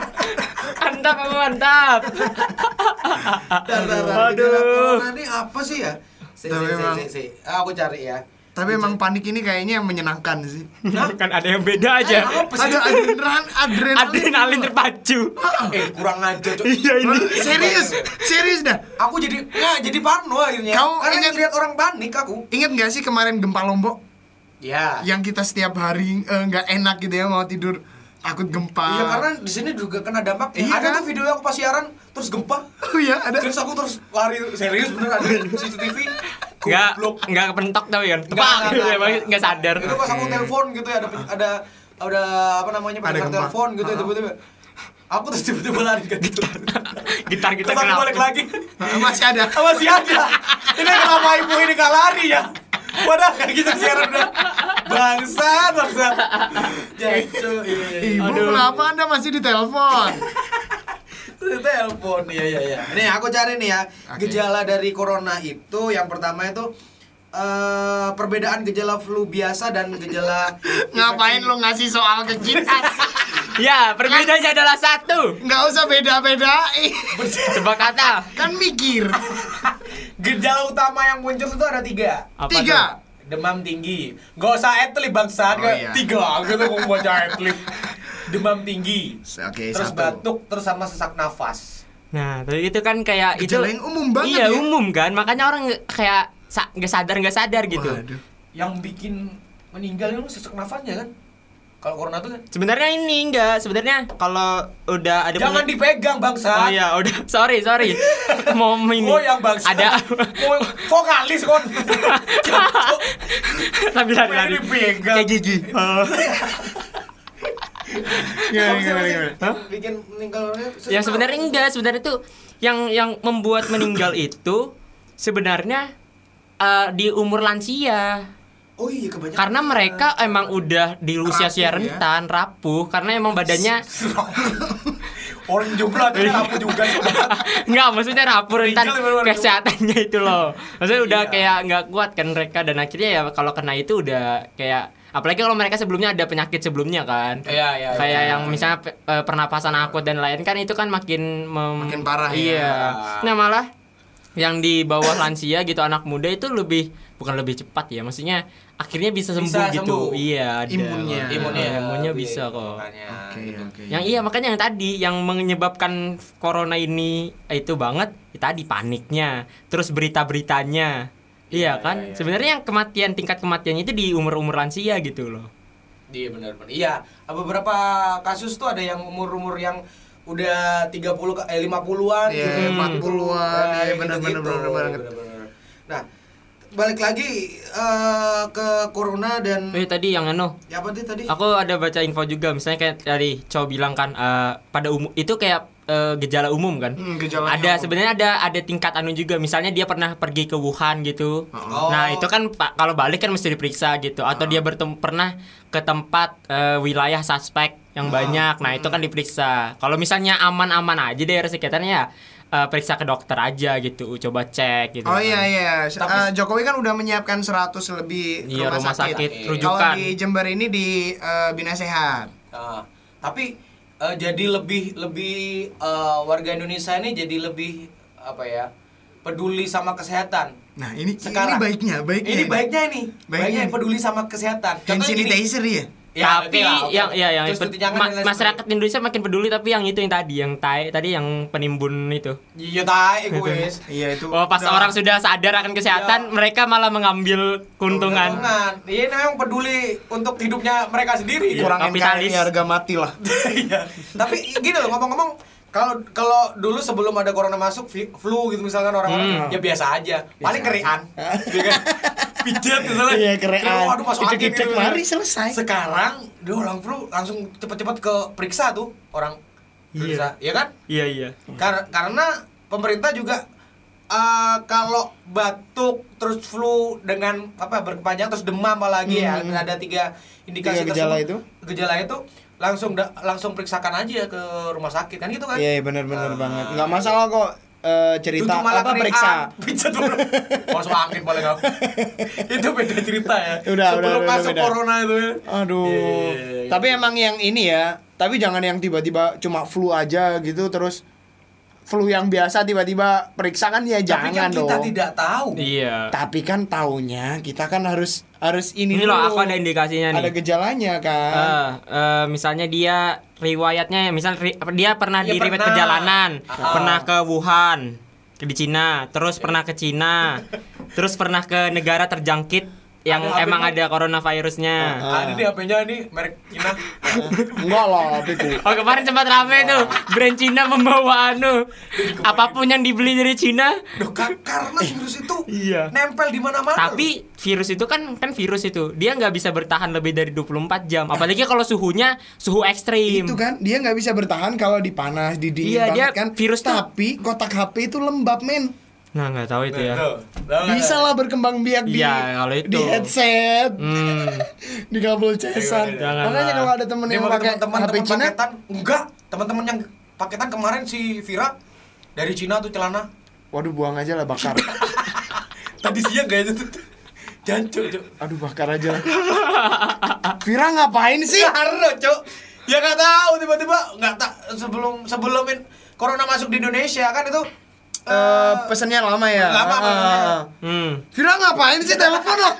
[SPEAKER 3] Mantap, kamu mantap.
[SPEAKER 4] Bentar, bentar, bentar. Gejala
[SPEAKER 3] Aduh.
[SPEAKER 4] corona Ini apa sih ya? Si, si,
[SPEAKER 5] Tapi
[SPEAKER 4] si,
[SPEAKER 5] emang-
[SPEAKER 4] si, si. Ah, Aku cari ya.
[SPEAKER 5] Tapi emang panik ini kayaknya menyenangkan sih.
[SPEAKER 3] Kan ada yang beda aja.
[SPEAKER 4] Apa sih?
[SPEAKER 5] Eh, Ada adrenalin, adrenalin.
[SPEAKER 3] Adrenalin terpacu.
[SPEAKER 4] Eh, kurang aja, Cok.
[SPEAKER 3] Iya ini.
[SPEAKER 5] Wah, serius, serius dah.
[SPEAKER 4] aku jadi nggak jadi parno akhirnya
[SPEAKER 5] Kau
[SPEAKER 4] karena
[SPEAKER 5] ingat-
[SPEAKER 4] ngeliat orang panik aku
[SPEAKER 5] Ingat nggak sih kemarin gempa Lombok
[SPEAKER 4] ya
[SPEAKER 3] Iya.
[SPEAKER 5] yang kita setiap hari eh, nggak enak gitu ya mau tidur takut gempa.
[SPEAKER 4] Iya karena di sini juga kena dampak.
[SPEAKER 5] Iya,
[SPEAKER 4] ada tuh
[SPEAKER 5] kan?
[SPEAKER 4] video aku pas siaran terus gempa.
[SPEAKER 5] Oh iya, ada.
[SPEAKER 4] Terus aku terus lari serius bener ada CCTV.
[SPEAKER 3] Enggak
[SPEAKER 4] Goblok.
[SPEAKER 3] enggak kepentok tapi kan.
[SPEAKER 4] Nggak,
[SPEAKER 3] Tepak
[SPEAKER 4] nggak,
[SPEAKER 3] gitu
[SPEAKER 4] nggak,
[SPEAKER 3] ya, Bang.
[SPEAKER 4] nggak.
[SPEAKER 3] enggak sadar.
[SPEAKER 4] Itu pas aku
[SPEAKER 5] Oke.
[SPEAKER 4] telepon gitu ya ada ada ada apa namanya
[SPEAKER 5] Ada
[SPEAKER 4] pendengar
[SPEAKER 5] gempa.
[SPEAKER 4] telepon gitu
[SPEAKER 5] Uh-uh.
[SPEAKER 4] tiba-tiba. Aku terus tiba-tiba lari ke gitu.
[SPEAKER 3] Gitar kita
[SPEAKER 4] Terus aku
[SPEAKER 3] kenapa?
[SPEAKER 4] balik lagi. Iya.
[SPEAKER 5] Eh, Masih ada.
[SPEAKER 4] Sama si Aja. Ini kenapa ibu ini gak lari ya? Padahal gak kita siaran udah. Bangsat, bangsat. Jacu, iya, iya.
[SPEAKER 5] Ibu
[SPEAKER 3] Aduh.
[SPEAKER 5] kenapa anda masih ditelepon?
[SPEAKER 4] Di telepon iya iya iya nih aku cari nih ya
[SPEAKER 5] Oke.
[SPEAKER 4] gejala dari corona itu yang pertama itu eh perbedaan gejala flu biasa dan gejala
[SPEAKER 5] Ngapain lo ngasih soal ke kita?
[SPEAKER 3] Ya, perbedaannya adalah satu.
[SPEAKER 5] Nggak usah beda-bedain.
[SPEAKER 3] Tebak kata.
[SPEAKER 5] Kan mikir.
[SPEAKER 4] gejala utama yang muncul itu ada tiga
[SPEAKER 3] Apa
[SPEAKER 5] Tiga.
[SPEAKER 4] demam tinggi gak usah etlip bangsa
[SPEAKER 5] Oh, iya.
[SPEAKER 4] tiga gitu aku baca etlip demam tinggi
[SPEAKER 5] Oke,
[SPEAKER 4] terus
[SPEAKER 5] satu.
[SPEAKER 4] batuk terus sama sesak nafas
[SPEAKER 3] tuh? Nah, tapi itu kan kayak itu
[SPEAKER 5] Gejala yang umum banget
[SPEAKER 3] Iya,
[SPEAKER 5] ya.
[SPEAKER 3] umum kan. Makanya orang nge- kayak sa- nggak sadar nggak sadar gitu.
[SPEAKER 5] Waduh.
[SPEAKER 4] yang bikin meninggal itu sesak nafasnya kan Kalau corona tuh
[SPEAKER 3] Sebenarnya ini enggak, sebenarnya kalau udah ada
[SPEAKER 4] jangan
[SPEAKER 3] pengen-
[SPEAKER 4] dipegang bangsa.
[SPEAKER 3] Oh iya, udah. Sorry, sorry. Mau ini.
[SPEAKER 4] Oh yang bangsa.
[SPEAKER 3] Ada
[SPEAKER 4] Oh, vokalis kon.
[SPEAKER 3] tapi
[SPEAKER 4] Ini
[SPEAKER 3] lari-lari.
[SPEAKER 4] Oh. dipegang.
[SPEAKER 3] Kayak gitu. gigi.
[SPEAKER 5] Gimana,
[SPEAKER 4] Apa sih, apa
[SPEAKER 5] gimana,
[SPEAKER 4] sih?
[SPEAKER 5] gimana?
[SPEAKER 4] Bikin meninggal orangnya sesak.
[SPEAKER 3] yang Ya, sebenarnya enggak, sebenarnya tuh yang yang membuat meninggal itu sebenarnya eh, di umur lansia.
[SPEAKER 4] Oh iya kebanyakan.
[SPEAKER 3] Karena mereka emang udah di usia usia
[SPEAKER 5] Rapuh ya.
[SPEAKER 3] rentan, rapuh karena emang badannya
[SPEAKER 4] orang jumlah tapi aku juga.
[SPEAKER 3] Enggak, maksudnya rapur rentan
[SPEAKER 4] Tinggal baru-baru.
[SPEAKER 3] kesehatannya itu loh. Maksudnya udah
[SPEAKER 4] Iya.
[SPEAKER 3] kayak nggak kuat kan mereka dan akhirnya ya kalau kena itu udah kayak apalagi kalau mereka sebelumnya ada penyakit sebelumnya kan.
[SPEAKER 4] Iya iya.
[SPEAKER 3] kayak yang misalnya pe- eh, pernapasan akut dan lain kan itu kan makin mem-
[SPEAKER 5] Makin parah ya.
[SPEAKER 3] iya. Nah, malah yang di bawah lansia gitu anak muda itu lebih bukan lebih cepat ya, maksudnya akhirnya bisa
[SPEAKER 4] Bisa
[SPEAKER 3] sembuh gitu.
[SPEAKER 4] sembuh.
[SPEAKER 3] Iya, ada.
[SPEAKER 5] Imunnya.
[SPEAKER 4] imunnya Iya,
[SPEAKER 3] imunnya
[SPEAKER 4] lebih-
[SPEAKER 3] bisa kok.
[SPEAKER 4] makanya. gitu.
[SPEAKER 5] Oke, oke.
[SPEAKER 3] Yang iya makanya yang tadi yang menyebabkan corona ini eh, itu banget ya tadi paniknya, terus berita-beritanya. Iya
[SPEAKER 4] Iya,
[SPEAKER 3] kan?
[SPEAKER 4] iya, iya.
[SPEAKER 3] Sebenarnya yang kematian tingkat kematiannya itu di umur-umur lansia gitu loh.
[SPEAKER 4] Iya benar-benar. Iya, beberapa kasus tuh ada yang umur-umur yang udah 30 ke- eh 50-an,
[SPEAKER 5] Iya, 40-an,
[SPEAKER 4] Iya,
[SPEAKER 5] iya, benar-benar,
[SPEAKER 4] gitu-gitu.
[SPEAKER 5] benar-benar banget.
[SPEAKER 4] Benar-benar. Nah, balik lagi eh, ke corona dan
[SPEAKER 3] Eh tadi yang anu
[SPEAKER 4] ya apa sih tadi?
[SPEAKER 3] Aku ada baca info juga misalnya kayak dari cowok bilang kan eh, pada umum itu kayak eh, gejala umum kan.
[SPEAKER 5] Hmm, gejalanya
[SPEAKER 3] Ada
[SPEAKER 5] umum.
[SPEAKER 3] sebenarnya ada ada tingkat anu juga misalnya dia pernah pergi ke Wuhan gitu.
[SPEAKER 4] Oh.
[SPEAKER 3] Nah, itu kan pa- kalau balik kan mesti diperiksa gitu atau
[SPEAKER 5] Ah.
[SPEAKER 3] dia bertem- pernah ke tempat eh, wilayah suspek
[SPEAKER 5] Ah.
[SPEAKER 3] yang banyak. Nah, itu
[SPEAKER 5] Hmm.
[SPEAKER 3] kan diperiksa. Kalau misalnya aman-aman aja daerah sekitarnya ya eh, periksa ke dokter aja gitu, coba cek gitu.
[SPEAKER 5] Oh iya iya. S-
[SPEAKER 4] Tapi-
[SPEAKER 5] eh, Jokowi kan udah menyiapkan 100 lebih
[SPEAKER 3] Iya, rumah sakit
[SPEAKER 5] Kalau
[SPEAKER 3] rujukan.
[SPEAKER 5] di Jember ini di eh, Bina Sehat.
[SPEAKER 4] Nah, tapi eh, jadi lebih lebih eh, warga Indonesia ini jadi lebih apa ya? peduli sama kesehatan.
[SPEAKER 5] Nah, ini
[SPEAKER 4] Sekarang
[SPEAKER 5] ini baiknya, baiknya. ya.
[SPEAKER 4] Ini baiknya ini.
[SPEAKER 5] Baiknya.
[SPEAKER 4] Iya. Baiknya, peduli sama kesehatan.
[SPEAKER 5] Hand
[SPEAKER 4] Contohnya gini.
[SPEAKER 5] sanitizer ya?
[SPEAKER 3] tapi yang ya yang
[SPEAKER 4] Terus
[SPEAKER 3] ped-
[SPEAKER 4] cuci tangan
[SPEAKER 3] ma-
[SPEAKER 4] dan lain
[SPEAKER 3] masyarakat Indonesia makin peduli tapi yang itu yang tadi yang tai tadi yang penimbun itu.
[SPEAKER 4] sebagainya. Iya tai gue. wes.
[SPEAKER 5] Iya itu.
[SPEAKER 3] Oh, pas
[SPEAKER 5] udah-
[SPEAKER 3] orang sudah sadar akan
[SPEAKER 4] Iya.
[SPEAKER 3] kesehatan, mereka malah mengambil keuntungan.
[SPEAKER 4] Keuntungan. Iya memang peduli untuk hidupnya mereka sendiri.
[SPEAKER 5] kurang
[SPEAKER 3] kapitalis.
[SPEAKER 5] NKRI harga mati lah.
[SPEAKER 4] Iya. Tapi gini loh ngomong-ngomong kalau kalau dulu sebelum ada corona masuk fi- flu gitu misalkan orang-orang
[SPEAKER 3] Hmm.
[SPEAKER 4] ya biasa aja. Paling kerian. Iya kan? Pijat gitu kan. misalnya.
[SPEAKER 2] Iya, kerian.
[SPEAKER 4] Kerian, Waduh masuk
[SPEAKER 2] Itu
[SPEAKER 4] angin
[SPEAKER 2] dicek, mari, selesai.
[SPEAKER 4] gitu kan. Sekarang dia orang flu langsung cepet-cepet ke periksa tuh orang. Periksa, iya kan?
[SPEAKER 3] Iya, iya.
[SPEAKER 4] Kar- karena pemerintah juga eh, kalau batuk terus flu dengan apa berkepanjangan terus demam apalagi ya ada tiga indikasi
[SPEAKER 2] Hmm. Tiga gejala
[SPEAKER 4] tersebut. gejala itu langsung da- langsung periksakan aja ke rumah sakit kan gitu kan
[SPEAKER 2] Iya, iya, bener-bener
[SPEAKER 4] Ah.
[SPEAKER 2] banget. Nggak masalah kok eh, cerita
[SPEAKER 4] Tunjuk malah
[SPEAKER 2] apa
[SPEAKER 4] kerian,
[SPEAKER 2] periksa.
[SPEAKER 4] pijat dulu. masuk angin paling aku itu beda cerita ya
[SPEAKER 2] Udah, udah,
[SPEAKER 4] sebelum
[SPEAKER 2] udah,
[SPEAKER 4] masuk
[SPEAKER 2] beda.
[SPEAKER 4] corona itu ya
[SPEAKER 2] Aduh.
[SPEAKER 4] Iya, iya, iya, iya.
[SPEAKER 2] Tapi emang yang ini ya, tapi jangan yang tiba-tiba cuma flu aja gitu terus flu yang biasa tiba-tiba periksa kan ya
[SPEAKER 4] tapi kan
[SPEAKER 2] jangan
[SPEAKER 4] kita
[SPEAKER 2] dong.
[SPEAKER 4] tidak tahu
[SPEAKER 3] Iya.
[SPEAKER 2] Tapi kan taunya kita kan harus harus ini
[SPEAKER 3] Ini loh,
[SPEAKER 2] dulu.
[SPEAKER 3] aku ada indikasinya nih.
[SPEAKER 2] Ada gejalanya kan.
[SPEAKER 3] Eh, eh, misalnya dia riwayatnya misal ri- apa, dia pernah
[SPEAKER 4] Iya,
[SPEAKER 3] di riwayat
[SPEAKER 4] pernah.
[SPEAKER 3] perjalanan,
[SPEAKER 4] Ah.
[SPEAKER 3] pernah ke Wuhan, ke di Cina, terus pernah ke Cina, terus pernah ke negara terjangkit yang
[SPEAKER 4] Ada
[SPEAKER 3] emang
[SPEAKER 4] apa
[SPEAKER 3] ada coronavirusnya.
[SPEAKER 4] Ah, ini di HP-nya ini merek Cina
[SPEAKER 2] Enggak lah, Piku.
[SPEAKER 3] Oh kemarin sempat
[SPEAKER 4] Ah.
[SPEAKER 3] rame tuh brand Cina membawa anu apapun yang dibeli dari Cina.
[SPEAKER 4] Duh, ka- karena virus itu
[SPEAKER 3] Iya.
[SPEAKER 4] nempel di mana-mana loh.
[SPEAKER 3] Tapi virus itu kan kan virus itu dia nggak bisa bertahan lebih dari 24 jam. Apalagi kalau suhunya suhu ekstrim.
[SPEAKER 2] Itu kan dia nggak bisa bertahan kalau dipanas, didingin
[SPEAKER 3] Iya, dia
[SPEAKER 2] banget kan.
[SPEAKER 3] virus tuh-
[SPEAKER 2] tapi kotak HP itu lembab, men.
[SPEAKER 3] Nah nggak tahu itu ya.
[SPEAKER 4] Tuh, tuh, tuh.
[SPEAKER 2] Bisa lah berkembang biak di,
[SPEAKER 3] Iya, kalau itu.
[SPEAKER 2] di headset,
[SPEAKER 3] Hmm.
[SPEAKER 2] di kabel cesan.
[SPEAKER 3] Jangan
[SPEAKER 2] Makanya
[SPEAKER 3] lah.
[SPEAKER 2] kalau ada temen
[SPEAKER 4] Dia
[SPEAKER 2] yang
[SPEAKER 4] mau
[SPEAKER 2] pakai
[SPEAKER 4] teman-teman
[SPEAKER 2] HP
[SPEAKER 4] teman
[SPEAKER 2] Cina,
[SPEAKER 4] paketan enggak teman-teman yang paketan kemarin si Vira dari Cina tuh celana
[SPEAKER 2] waduh buang aja lah bakar.
[SPEAKER 4] tadi siang kayaknya tuh jancuk cuk
[SPEAKER 2] Aduh bakar aja lah. Vira ngapain sih?
[SPEAKER 4] Karena cuk ya nggak tahu tiba-tiba nggak tak sebelum sebelum corona masuk di Indonesia kan itu
[SPEAKER 5] Eh,
[SPEAKER 4] eh,
[SPEAKER 5] pesannya lama ya.
[SPEAKER 4] Lama
[SPEAKER 5] Ah,
[SPEAKER 4] pesannya.
[SPEAKER 5] ah, ah.
[SPEAKER 3] Hmm.
[SPEAKER 2] Vira ngapain sih telepon lo?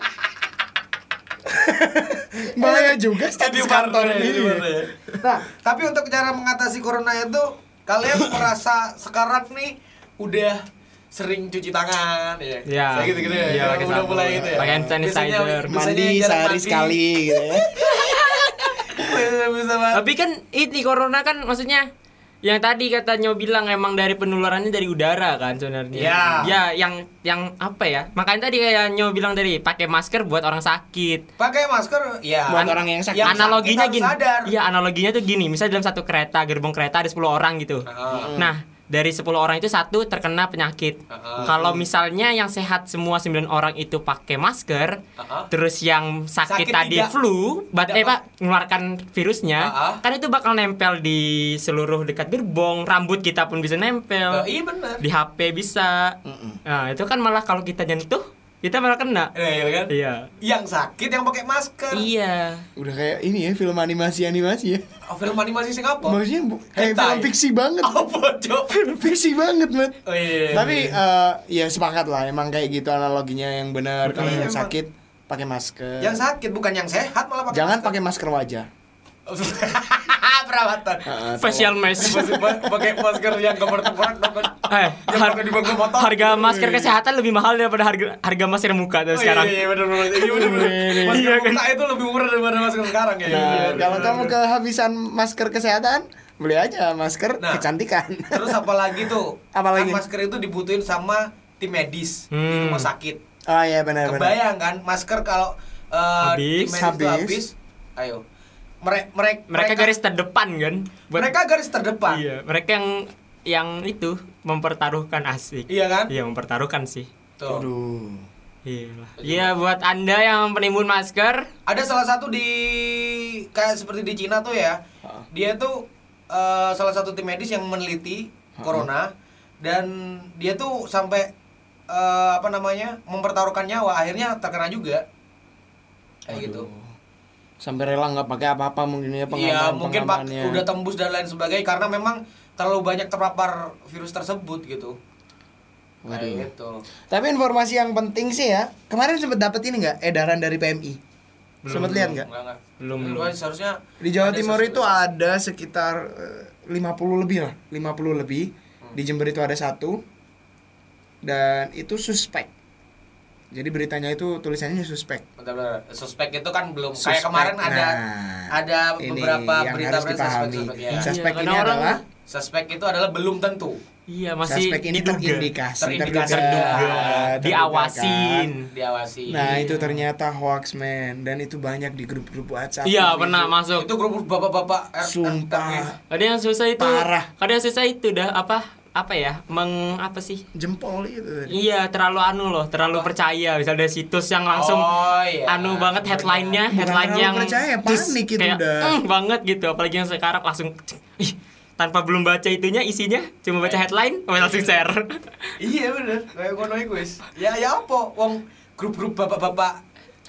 [SPEAKER 2] Bahaya juga
[SPEAKER 4] Jadi
[SPEAKER 2] status
[SPEAKER 4] warna
[SPEAKER 2] kantor
[SPEAKER 4] ya, jadi
[SPEAKER 2] ini.
[SPEAKER 4] warna ya. Nah, tapi untuk cara mengatasi corona itu kalian merasa sekarang nih udah sering cuci tangan ya.
[SPEAKER 3] Iya.
[SPEAKER 4] Kayak gitu-gitu ya.
[SPEAKER 3] Iya, pakai
[SPEAKER 4] udah
[SPEAKER 3] sabun.
[SPEAKER 4] mulai gitu ya.
[SPEAKER 3] Pakai hand sanitizer.
[SPEAKER 4] Biasanya- biasanya
[SPEAKER 5] gitu
[SPEAKER 2] Mandi
[SPEAKER 4] jarang
[SPEAKER 2] sehari
[SPEAKER 4] mandi.
[SPEAKER 2] sekali gitu ya.
[SPEAKER 4] bisa banget.
[SPEAKER 3] Tapi kan ini corona kan maksudnya yang tadi katanya bilang emang dari penularannya dari udara kan sebenarnya.
[SPEAKER 4] Iya.
[SPEAKER 3] Ya, yang yang apa ya? Makanya tadi kayak Nyo bilang tadi pakai masker buat orang sakit.
[SPEAKER 4] Pakai masker ya.
[SPEAKER 5] Buat
[SPEAKER 4] an-
[SPEAKER 5] orang yang sakit.
[SPEAKER 3] analoginya
[SPEAKER 4] sakit
[SPEAKER 3] gini.
[SPEAKER 4] harus Sadar.
[SPEAKER 3] Iya, analoginya tuh gini. Misalnya dalam satu kereta, gerbong kereta ada 10 orang gitu.
[SPEAKER 4] Heeh.
[SPEAKER 3] Nah, dari 10 orang itu satu terkena penyakit.
[SPEAKER 4] Heeh.
[SPEAKER 3] Kalau misalnya yang sehat semua 9 orang itu pakai masker,
[SPEAKER 4] Heeh.
[SPEAKER 3] terus yang sakit,
[SPEAKER 4] Sakit
[SPEAKER 3] tadi
[SPEAKER 4] tidak-
[SPEAKER 3] flu, bat
[SPEAKER 4] tidak
[SPEAKER 3] eh Pak mengeluarkan virusnya,
[SPEAKER 4] Heeh.
[SPEAKER 3] kan itu bakal nempel di seluruh dekat gerbong, rambut kita pun bisa
[SPEAKER 4] Eh,
[SPEAKER 3] nempel.
[SPEAKER 4] iya benar.
[SPEAKER 3] Di HP bisa. Nah, itu kan malah kalau kita nyentuh, kita malah kena.
[SPEAKER 4] Nah, iya kan?
[SPEAKER 3] Iya.
[SPEAKER 4] Yang sakit yang pakai masker.
[SPEAKER 3] Iya.
[SPEAKER 5] Udah kayak ini ya film animasi animasi ya.
[SPEAKER 4] Oh, film animasi Singapura.
[SPEAKER 5] Maksudnya bu- kayak
[SPEAKER 4] Hentai. Oh,
[SPEAKER 5] film fiksi banget.
[SPEAKER 4] Apa, Cok?
[SPEAKER 5] fiksi banget, Mat.
[SPEAKER 4] Oh, iya, iya,
[SPEAKER 5] Tapi
[SPEAKER 4] iya.
[SPEAKER 5] eh, ya sepakat lah emang kayak gitu analoginya yang benar kalau
[SPEAKER 4] Iya,
[SPEAKER 5] yang
[SPEAKER 4] emang.
[SPEAKER 5] sakit pakai masker.
[SPEAKER 4] yang sakit bukan yang sehat malah pakai
[SPEAKER 5] Jangan
[SPEAKER 4] masker.
[SPEAKER 5] pakai masker wajah. Eh,
[SPEAKER 4] perawatan.
[SPEAKER 5] Heeh, tuh.
[SPEAKER 4] iya,
[SPEAKER 3] Facial mask.
[SPEAKER 4] pakai masker yang kemerdekaan
[SPEAKER 3] Eh,
[SPEAKER 4] yang
[SPEAKER 3] har-
[SPEAKER 4] pakai di bangku motor
[SPEAKER 3] harga masker kesehatan lebih mahal daripada harga harga masker muka tuh
[SPEAKER 4] Oh,
[SPEAKER 3] sekarang.
[SPEAKER 4] Iya, iya benar benar. Iya benar benar. Masker
[SPEAKER 3] Iya, kan?
[SPEAKER 4] muka itu lebih murah daripada masker sekarang ya.
[SPEAKER 5] Nah,
[SPEAKER 4] Iya,
[SPEAKER 5] kalau
[SPEAKER 4] benar,
[SPEAKER 5] kamu
[SPEAKER 4] benar.
[SPEAKER 5] kehabisan masker kesehatan, beli aja masker
[SPEAKER 4] Nah.
[SPEAKER 5] kecantikan.
[SPEAKER 4] terus apa lagi tuh?
[SPEAKER 5] Apa lagi?
[SPEAKER 4] Kan masker itu dibutuhin sama tim medis di
[SPEAKER 3] Hmm.
[SPEAKER 4] rumah sakit.
[SPEAKER 5] Oh iya benar benar.
[SPEAKER 4] Kebayang kan masker kalau eh,
[SPEAKER 3] Habis.
[SPEAKER 4] tim medis itu
[SPEAKER 5] Habis.
[SPEAKER 4] habis. Ayo. Mere- merek-
[SPEAKER 3] Mereka garis terdepan kan. Buat-
[SPEAKER 4] mereka garis terdepan.
[SPEAKER 3] Iya, mereka yang yang itu mempertaruhkan asik.
[SPEAKER 4] Iya kan?
[SPEAKER 3] Iya, mempertaruhkan sih.
[SPEAKER 4] Tuh.
[SPEAKER 5] Aduh.
[SPEAKER 3] Iya. lah. Iya, buat Anda yang penimbun masker,
[SPEAKER 4] ada salah satu di kayak seperti di Cina tuh ya dia tuh eh, salah satu tim medis yang meneliti corona dan dia tuh sampai eh, apa namanya mempertaruhkan nyawa akhirnya terkena juga kayak gitu
[SPEAKER 5] Sampai rela nggak pakai apa-apa mungkin ya
[SPEAKER 4] iya
[SPEAKER 5] pengaman
[SPEAKER 4] mungkin pak
[SPEAKER 3] ya.
[SPEAKER 4] udah tembus dan lain sebagainya karena memang terlalu banyak terpapar virus tersebut gitu
[SPEAKER 5] Waduh.
[SPEAKER 4] kayak gitu
[SPEAKER 5] Tapi informasi yang penting sih ya, kemarin sempat dapat ini nggak edaran dari PMI? Sempat lihat nggak?
[SPEAKER 4] Enggak, enggak.
[SPEAKER 3] Belum,
[SPEAKER 4] Ini
[SPEAKER 3] belum.
[SPEAKER 4] gua seharusnya
[SPEAKER 5] Di Jawa
[SPEAKER 4] ada
[SPEAKER 5] Timur
[SPEAKER 4] sesuatu-
[SPEAKER 5] itu ada sekitar eh, 50 lebih lah, 50 lebih.
[SPEAKER 4] Hmm.
[SPEAKER 5] Di Jember itu ada satu dan itu suspek. Jadi beritanya itu tulisannya suspek.
[SPEAKER 4] Bentar, bentar. Suspek itu kan belum kayak
[SPEAKER 5] Suspek.
[SPEAKER 4] kemarin ada
[SPEAKER 5] Nah,
[SPEAKER 4] ada
[SPEAKER 5] ini
[SPEAKER 4] beberapa
[SPEAKER 5] yang
[SPEAKER 4] berita
[SPEAKER 5] harus
[SPEAKER 4] berita
[SPEAKER 5] dipahami.
[SPEAKER 4] suspek. ya.
[SPEAKER 3] Sus-
[SPEAKER 5] Suspek
[SPEAKER 3] Iya,
[SPEAKER 5] ini
[SPEAKER 3] karena orang-
[SPEAKER 5] adalah
[SPEAKER 4] Suspek itu adalah belum tentu.
[SPEAKER 3] iya masih
[SPEAKER 5] suspek ini
[SPEAKER 3] diduga.
[SPEAKER 5] terindikasi,
[SPEAKER 4] Terindikasi.
[SPEAKER 3] Terduga. Iya.
[SPEAKER 5] terduga,
[SPEAKER 3] diawasin.
[SPEAKER 4] Diawasi.
[SPEAKER 5] Hmm. Nah, itu ternyata hoax man dan itu banyak di grup-grup WhatsApp.
[SPEAKER 3] Iya,
[SPEAKER 5] grup
[SPEAKER 3] pernah
[SPEAKER 5] itu.
[SPEAKER 3] masuk.
[SPEAKER 4] itu grup bapak-bapak R-
[SPEAKER 5] Sumpah
[SPEAKER 3] Ada yang susah itu.
[SPEAKER 5] Parah.
[SPEAKER 3] Ada yang susah itu dah apa? Apa ya? Meng apa sih?
[SPEAKER 4] ya.
[SPEAKER 5] jempol itu. tadi.
[SPEAKER 3] Iya, terlalu anu loh, terlalu percaya. Misalnya ada situs yang langsung
[SPEAKER 4] Oh, iya.
[SPEAKER 3] anu banget headline-nya,
[SPEAKER 5] Bukan
[SPEAKER 3] headline
[SPEAKER 5] terlalu
[SPEAKER 3] yang
[SPEAKER 5] percaya,
[SPEAKER 3] terus
[SPEAKER 5] panik itu
[SPEAKER 3] kayak,
[SPEAKER 5] udah.
[SPEAKER 3] "Eng," banget gitu. Apalagi yang sekarang langsung ih, tanpa belum baca itunya isinya, cuma baca headline, oh, langsung share.
[SPEAKER 4] Iya bener. Kayak ngono iku wis. Ya ya apa wong grup-grup bapak-bapak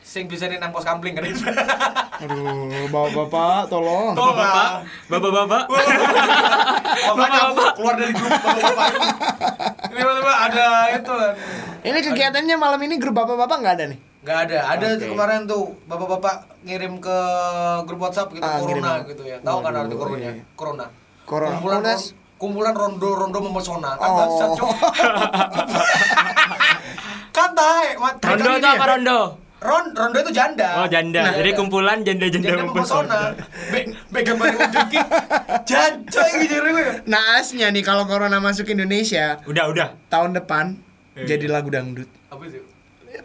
[SPEAKER 4] sing bisa nang pos kampling kan.
[SPEAKER 5] Aduh, bapak-bapak tolong.
[SPEAKER 4] Tolong.
[SPEAKER 3] Bapak-bapak, bapak-bapak.
[SPEAKER 4] Makanya aku keluar dari grup bapak-bapak. ini. Tiba-tiba ada itu kan.
[SPEAKER 5] Ini kegiatannya malam ini grup bapak-bapak nggak ada nih?
[SPEAKER 4] Nggak ada. Ada
[SPEAKER 5] Oke.
[SPEAKER 4] kemarin tuh bapak-bapak ngirim ke grup WhatsApp gitu
[SPEAKER 5] Ah,
[SPEAKER 4] corona
[SPEAKER 5] ngirim.
[SPEAKER 4] gitu ya. Tahu kan
[SPEAKER 5] Waduh,
[SPEAKER 4] arti corona?
[SPEAKER 5] iya.
[SPEAKER 4] Corona.
[SPEAKER 5] Corona.
[SPEAKER 4] Kumpulan
[SPEAKER 5] Corona.
[SPEAKER 4] kumpulan rondo-rondo memesona. Kan
[SPEAKER 5] Oh.
[SPEAKER 4] bangsat, Cok. kan tae, mat.
[SPEAKER 3] Rondo
[SPEAKER 5] ya?
[SPEAKER 3] itu apa rondo?
[SPEAKER 4] ya. Ron, rondo itu janda. Iya,
[SPEAKER 3] Oh,
[SPEAKER 5] Nah,
[SPEAKER 3] janda. Jadi
[SPEAKER 5] iya.
[SPEAKER 3] kumpulan janda-janda
[SPEAKER 4] janda
[SPEAKER 3] mempesona.
[SPEAKER 4] memesona. Be, be gambar ujung ki. Jancok iki jere kowe.
[SPEAKER 5] Naasnya nih kalau corona masuk Indonesia
[SPEAKER 3] Udah, udah.
[SPEAKER 5] tahun depan
[SPEAKER 3] Iya.
[SPEAKER 5] jadi lagu dangdut.
[SPEAKER 4] Apa sih?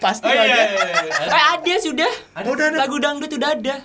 [SPEAKER 5] Pasti
[SPEAKER 4] Oh iya,
[SPEAKER 5] aja.
[SPEAKER 4] iya, iya.
[SPEAKER 3] Eh, ada sudah.
[SPEAKER 5] Ada. Udah ada.
[SPEAKER 3] Lagu dangdut udah ada.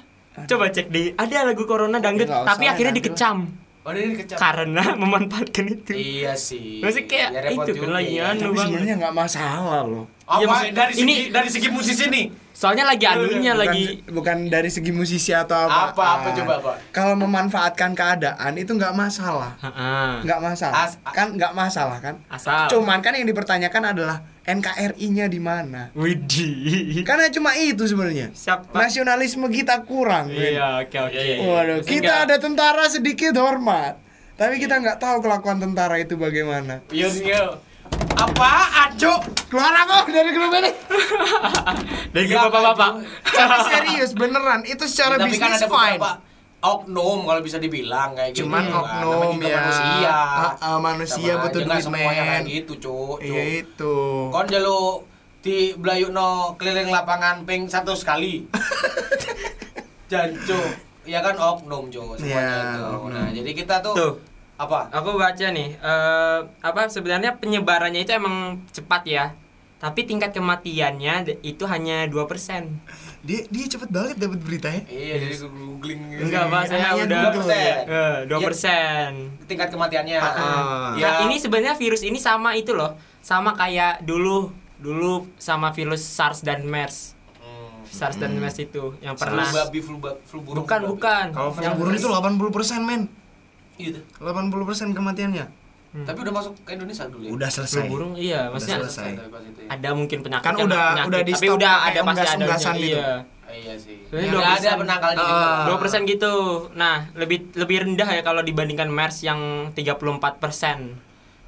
[SPEAKER 3] Coba cek di ada lagu corona dangdut,
[SPEAKER 5] nggak usah
[SPEAKER 3] tapi
[SPEAKER 5] lah,
[SPEAKER 3] akhirnya
[SPEAKER 5] dangdut.
[SPEAKER 3] dikecam
[SPEAKER 4] Oh, ini dikecap.
[SPEAKER 3] karena memanfaatkan itu.
[SPEAKER 4] Iya sih.
[SPEAKER 3] Maksudnya kayak
[SPEAKER 4] Ya, repot
[SPEAKER 3] itu kan
[SPEAKER 4] juga
[SPEAKER 3] lagi
[SPEAKER 4] ya.
[SPEAKER 3] anu.
[SPEAKER 5] Tapi sebenarnya nggak masalah loh.
[SPEAKER 4] Apa
[SPEAKER 3] Iya, maksud-
[SPEAKER 4] dari segi
[SPEAKER 3] ini-
[SPEAKER 4] dari segi musisi nih?
[SPEAKER 3] Soalnya lagi anunya
[SPEAKER 5] Iya, Bukan,
[SPEAKER 3] lagi
[SPEAKER 5] bukan dari segi musisi atau apa.
[SPEAKER 4] Apa, apa, coba, apa?
[SPEAKER 5] Kalau memanfaatkan keadaan itu nggak masalah.
[SPEAKER 3] Heeh.
[SPEAKER 5] Nggak masalah.
[SPEAKER 4] As- a-
[SPEAKER 5] kan nggak masalah kan?
[SPEAKER 3] Asal.
[SPEAKER 5] Cuman kan yang dipertanyakan adalah NKRI-nya di mana?
[SPEAKER 3] Widih.
[SPEAKER 5] Karena cuma itu sebenarnya.
[SPEAKER 3] Siapa?
[SPEAKER 5] Nasionalisme kita kurang. Win.
[SPEAKER 3] Iya, oke oke.
[SPEAKER 5] Waduh,
[SPEAKER 3] Terus
[SPEAKER 5] kita
[SPEAKER 3] enggak-
[SPEAKER 5] ada tentara sedikit hormat. Tapi kita nggak tahu kelakuan tentara itu bagaimana.
[SPEAKER 4] Yo yo. Iya, Apaan, Cuk?
[SPEAKER 5] Keluar aku dari grup ini.
[SPEAKER 3] dari
[SPEAKER 4] Iya,
[SPEAKER 3] grup bapak-bapak.
[SPEAKER 5] Tapi serius beneran, itu secara
[SPEAKER 4] Tapi
[SPEAKER 5] bisnis
[SPEAKER 4] kan ada
[SPEAKER 5] fine.
[SPEAKER 4] beberapa oknum kalau bisa dibilang kayak gitu.
[SPEAKER 5] Cuman
[SPEAKER 4] kan.
[SPEAKER 5] oknum
[SPEAKER 4] Namanya juga
[SPEAKER 5] ya.
[SPEAKER 4] Manusia.
[SPEAKER 5] Ah, ah, manusia
[SPEAKER 4] Sama
[SPEAKER 5] butuh
[SPEAKER 4] aja nggak
[SPEAKER 5] duit,
[SPEAKER 4] semuanya
[SPEAKER 5] men.
[SPEAKER 4] kayak gitu, Cuk.
[SPEAKER 5] Iya
[SPEAKER 4] Cuk.
[SPEAKER 5] itu.
[SPEAKER 4] Kon jalo di belayukno keliling lapangan ping satu sekali. Jancu. ya kan oknum Jo
[SPEAKER 5] Iya,
[SPEAKER 4] semuanya itu.
[SPEAKER 5] oknum.
[SPEAKER 4] Nah, jadi kita tuh,
[SPEAKER 3] Tuh.
[SPEAKER 4] apa?
[SPEAKER 3] Aku baca nih, eh, apa sebenarnya penyebarannya itu emang cepat ya. Tapi tingkat kematiannya d- itu hanya 2%.
[SPEAKER 5] Dia dia cepet banget dapat beritanya.
[SPEAKER 4] Iya, jadi googling gitu.
[SPEAKER 3] Enggak, Pak, saya
[SPEAKER 5] Hanya
[SPEAKER 3] udah
[SPEAKER 4] 2%.
[SPEAKER 3] Eh, 2%.
[SPEAKER 4] tingkat kematiannya.
[SPEAKER 5] Ah.
[SPEAKER 3] Nah,
[SPEAKER 4] Ya,
[SPEAKER 3] ini sebenarnya virus ini sama itu loh, sama kayak dulu dulu sama virus SARS dan MERS.
[SPEAKER 4] hmm,
[SPEAKER 3] SARS dan MERS itu yang
[SPEAKER 4] pernah
[SPEAKER 3] pernah
[SPEAKER 4] flu babi flu, ba- flu burung.
[SPEAKER 3] bukan
[SPEAKER 4] flu babi.
[SPEAKER 3] bukan.
[SPEAKER 5] Kalau
[SPEAKER 3] Yang
[SPEAKER 5] burung itu 80% men.
[SPEAKER 4] Gitu.
[SPEAKER 5] 80% kematiannya.
[SPEAKER 3] Hmm.
[SPEAKER 4] Tapi udah masuk ke Indonesia dulu ya.
[SPEAKER 5] Udah
[SPEAKER 3] flu
[SPEAKER 5] selesai.
[SPEAKER 3] burung iya, maksudnya
[SPEAKER 5] selesai.
[SPEAKER 4] Tapi pas itu ya.
[SPEAKER 3] ada mungkin penyakit
[SPEAKER 5] Kan
[SPEAKER 3] yang
[SPEAKER 5] udah-
[SPEAKER 3] penyakit,
[SPEAKER 5] udah di
[SPEAKER 3] tapi
[SPEAKER 5] stop
[SPEAKER 3] udah
[SPEAKER 5] pakai
[SPEAKER 3] ada pasti ada
[SPEAKER 5] unggas-unggasan
[SPEAKER 3] ujungnya,
[SPEAKER 5] gitu.
[SPEAKER 3] iya.
[SPEAKER 4] Ah, Iya sih.
[SPEAKER 3] Ini
[SPEAKER 4] Yang
[SPEAKER 3] 2%.
[SPEAKER 4] ada penakalnya
[SPEAKER 5] Ah.
[SPEAKER 4] gitu.
[SPEAKER 3] dua persen gitu nah lebih lebih rendah ya kalau dibandingkan MERS yang 34 persen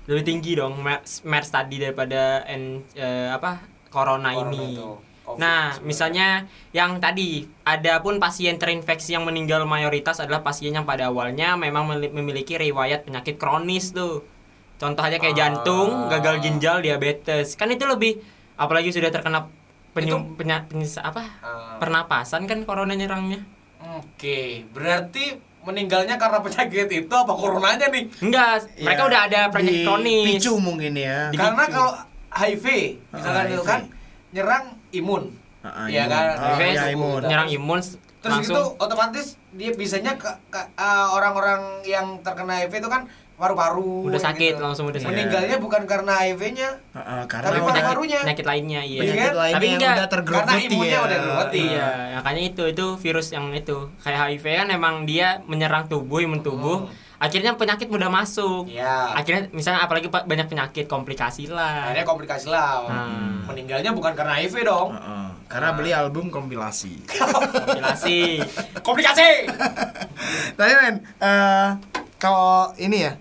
[SPEAKER 3] lebih tinggi dong MERS, MERS tadi daripada N, eh, apa corona,
[SPEAKER 4] Corona
[SPEAKER 3] Nah, ini
[SPEAKER 4] itu, COVID
[SPEAKER 3] nah
[SPEAKER 4] sebenarnya.
[SPEAKER 3] misalnya yang tadi ada pun pasien terinfeksi yang meninggal mayoritas adalah pasien yang pada awalnya memang meli- memiliki riwayat penyakit kronis tuh contohnya kayak jantung
[SPEAKER 4] Ah.
[SPEAKER 3] gagal ginjal diabetes kan itu lebih apalagi sudah terkena penyu, penya- penyisa- apa
[SPEAKER 4] Ah.
[SPEAKER 3] pernapasan kan corona nyerangnya
[SPEAKER 4] Oke, berarti meninggalnya karena penyakit itu apa coronanya nih?
[SPEAKER 3] Enggak, mereka udah ada penyakit
[SPEAKER 5] Iya. Di-
[SPEAKER 3] kronis.
[SPEAKER 5] Picu mungkin ya.
[SPEAKER 3] Dipicu.
[SPEAKER 4] Karena kalau HIV misalkan
[SPEAKER 5] Ah,
[SPEAKER 4] itu
[SPEAKER 5] HIV.
[SPEAKER 4] kan nyerang imun.
[SPEAKER 5] Ah, ah,
[SPEAKER 4] Iya
[SPEAKER 5] imun.
[SPEAKER 4] kan?
[SPEAKER 5] Ah,
[SPEAKER 4] HIV
[SPEAKER 5] iya, imun.
[SPEAKER 3] Nyerang imun s-
[SPEAKER 4] Terus
[SPEAKER 3] langsung.
[SPEAKER 4] itu otomatis dia biasanya ke- ke- eh, orang-orang yang terkena HIV itu kan paru-paru gitu.
[SPEAKER 3] Udah sakit, langsung udah sakit.
[SPEAKER 4] Meninggalnya bukan karena HIV-nya,
[SPEAKER 5] Heeh,
[SPEAKER 4] tapi
[SPEAKER 5] karena
[SPEAKER 3] Tapi
[SPEAKER 5] udah
[SPEAKER 3] penyakit,
[SPEAKER 4] paru-parunya.
[SPEAKER 3] penyakit lainnya iya.
[SPEAKER 4] Iya
[SPEAKER 5] penyakit
[SPEAKER 4] kan?
[SPEAKER 5] lainnya
[SPEAKER 3] Tapi
[SPEAKER 5] yang
[SPEAKER 3] enggak,
[SPEAKER 5] udah tergerogoti
[SPEAKER 4] karena imunnya
[SPEAKER 5] ya.
[SPEAKER 4] udah tergerogoti.
[SPEAKER 3] Iya, makanya itu itu virus yang itu. Kayak HIV kan emang dia menyerang tubuh, imun tubuh.
[SPEAKER 5] Oh.
[SPEAKER 3] Akhirnya penyakit mudah masuk.
[SPEAKER 4] Iya.
[SPEAKER 3] Akhirnya misalnya apalagi pa- banyak penyakit komplikasi lah.
[SPEAKER 4] Akhirnya komplikasi lah.
[SPEAKER 3] Hmm.
[SPEAKER 4] Meninggalnya bukan karena HIV dong.
[SPEAKER 5] Heeh, karena beli album kompilasi.
[SPEAKER 3] Komplikasi.
[SPEAKER 4] Komplikasi.
[SPEAKER 5] Tapi men, eh, kalau ini ya,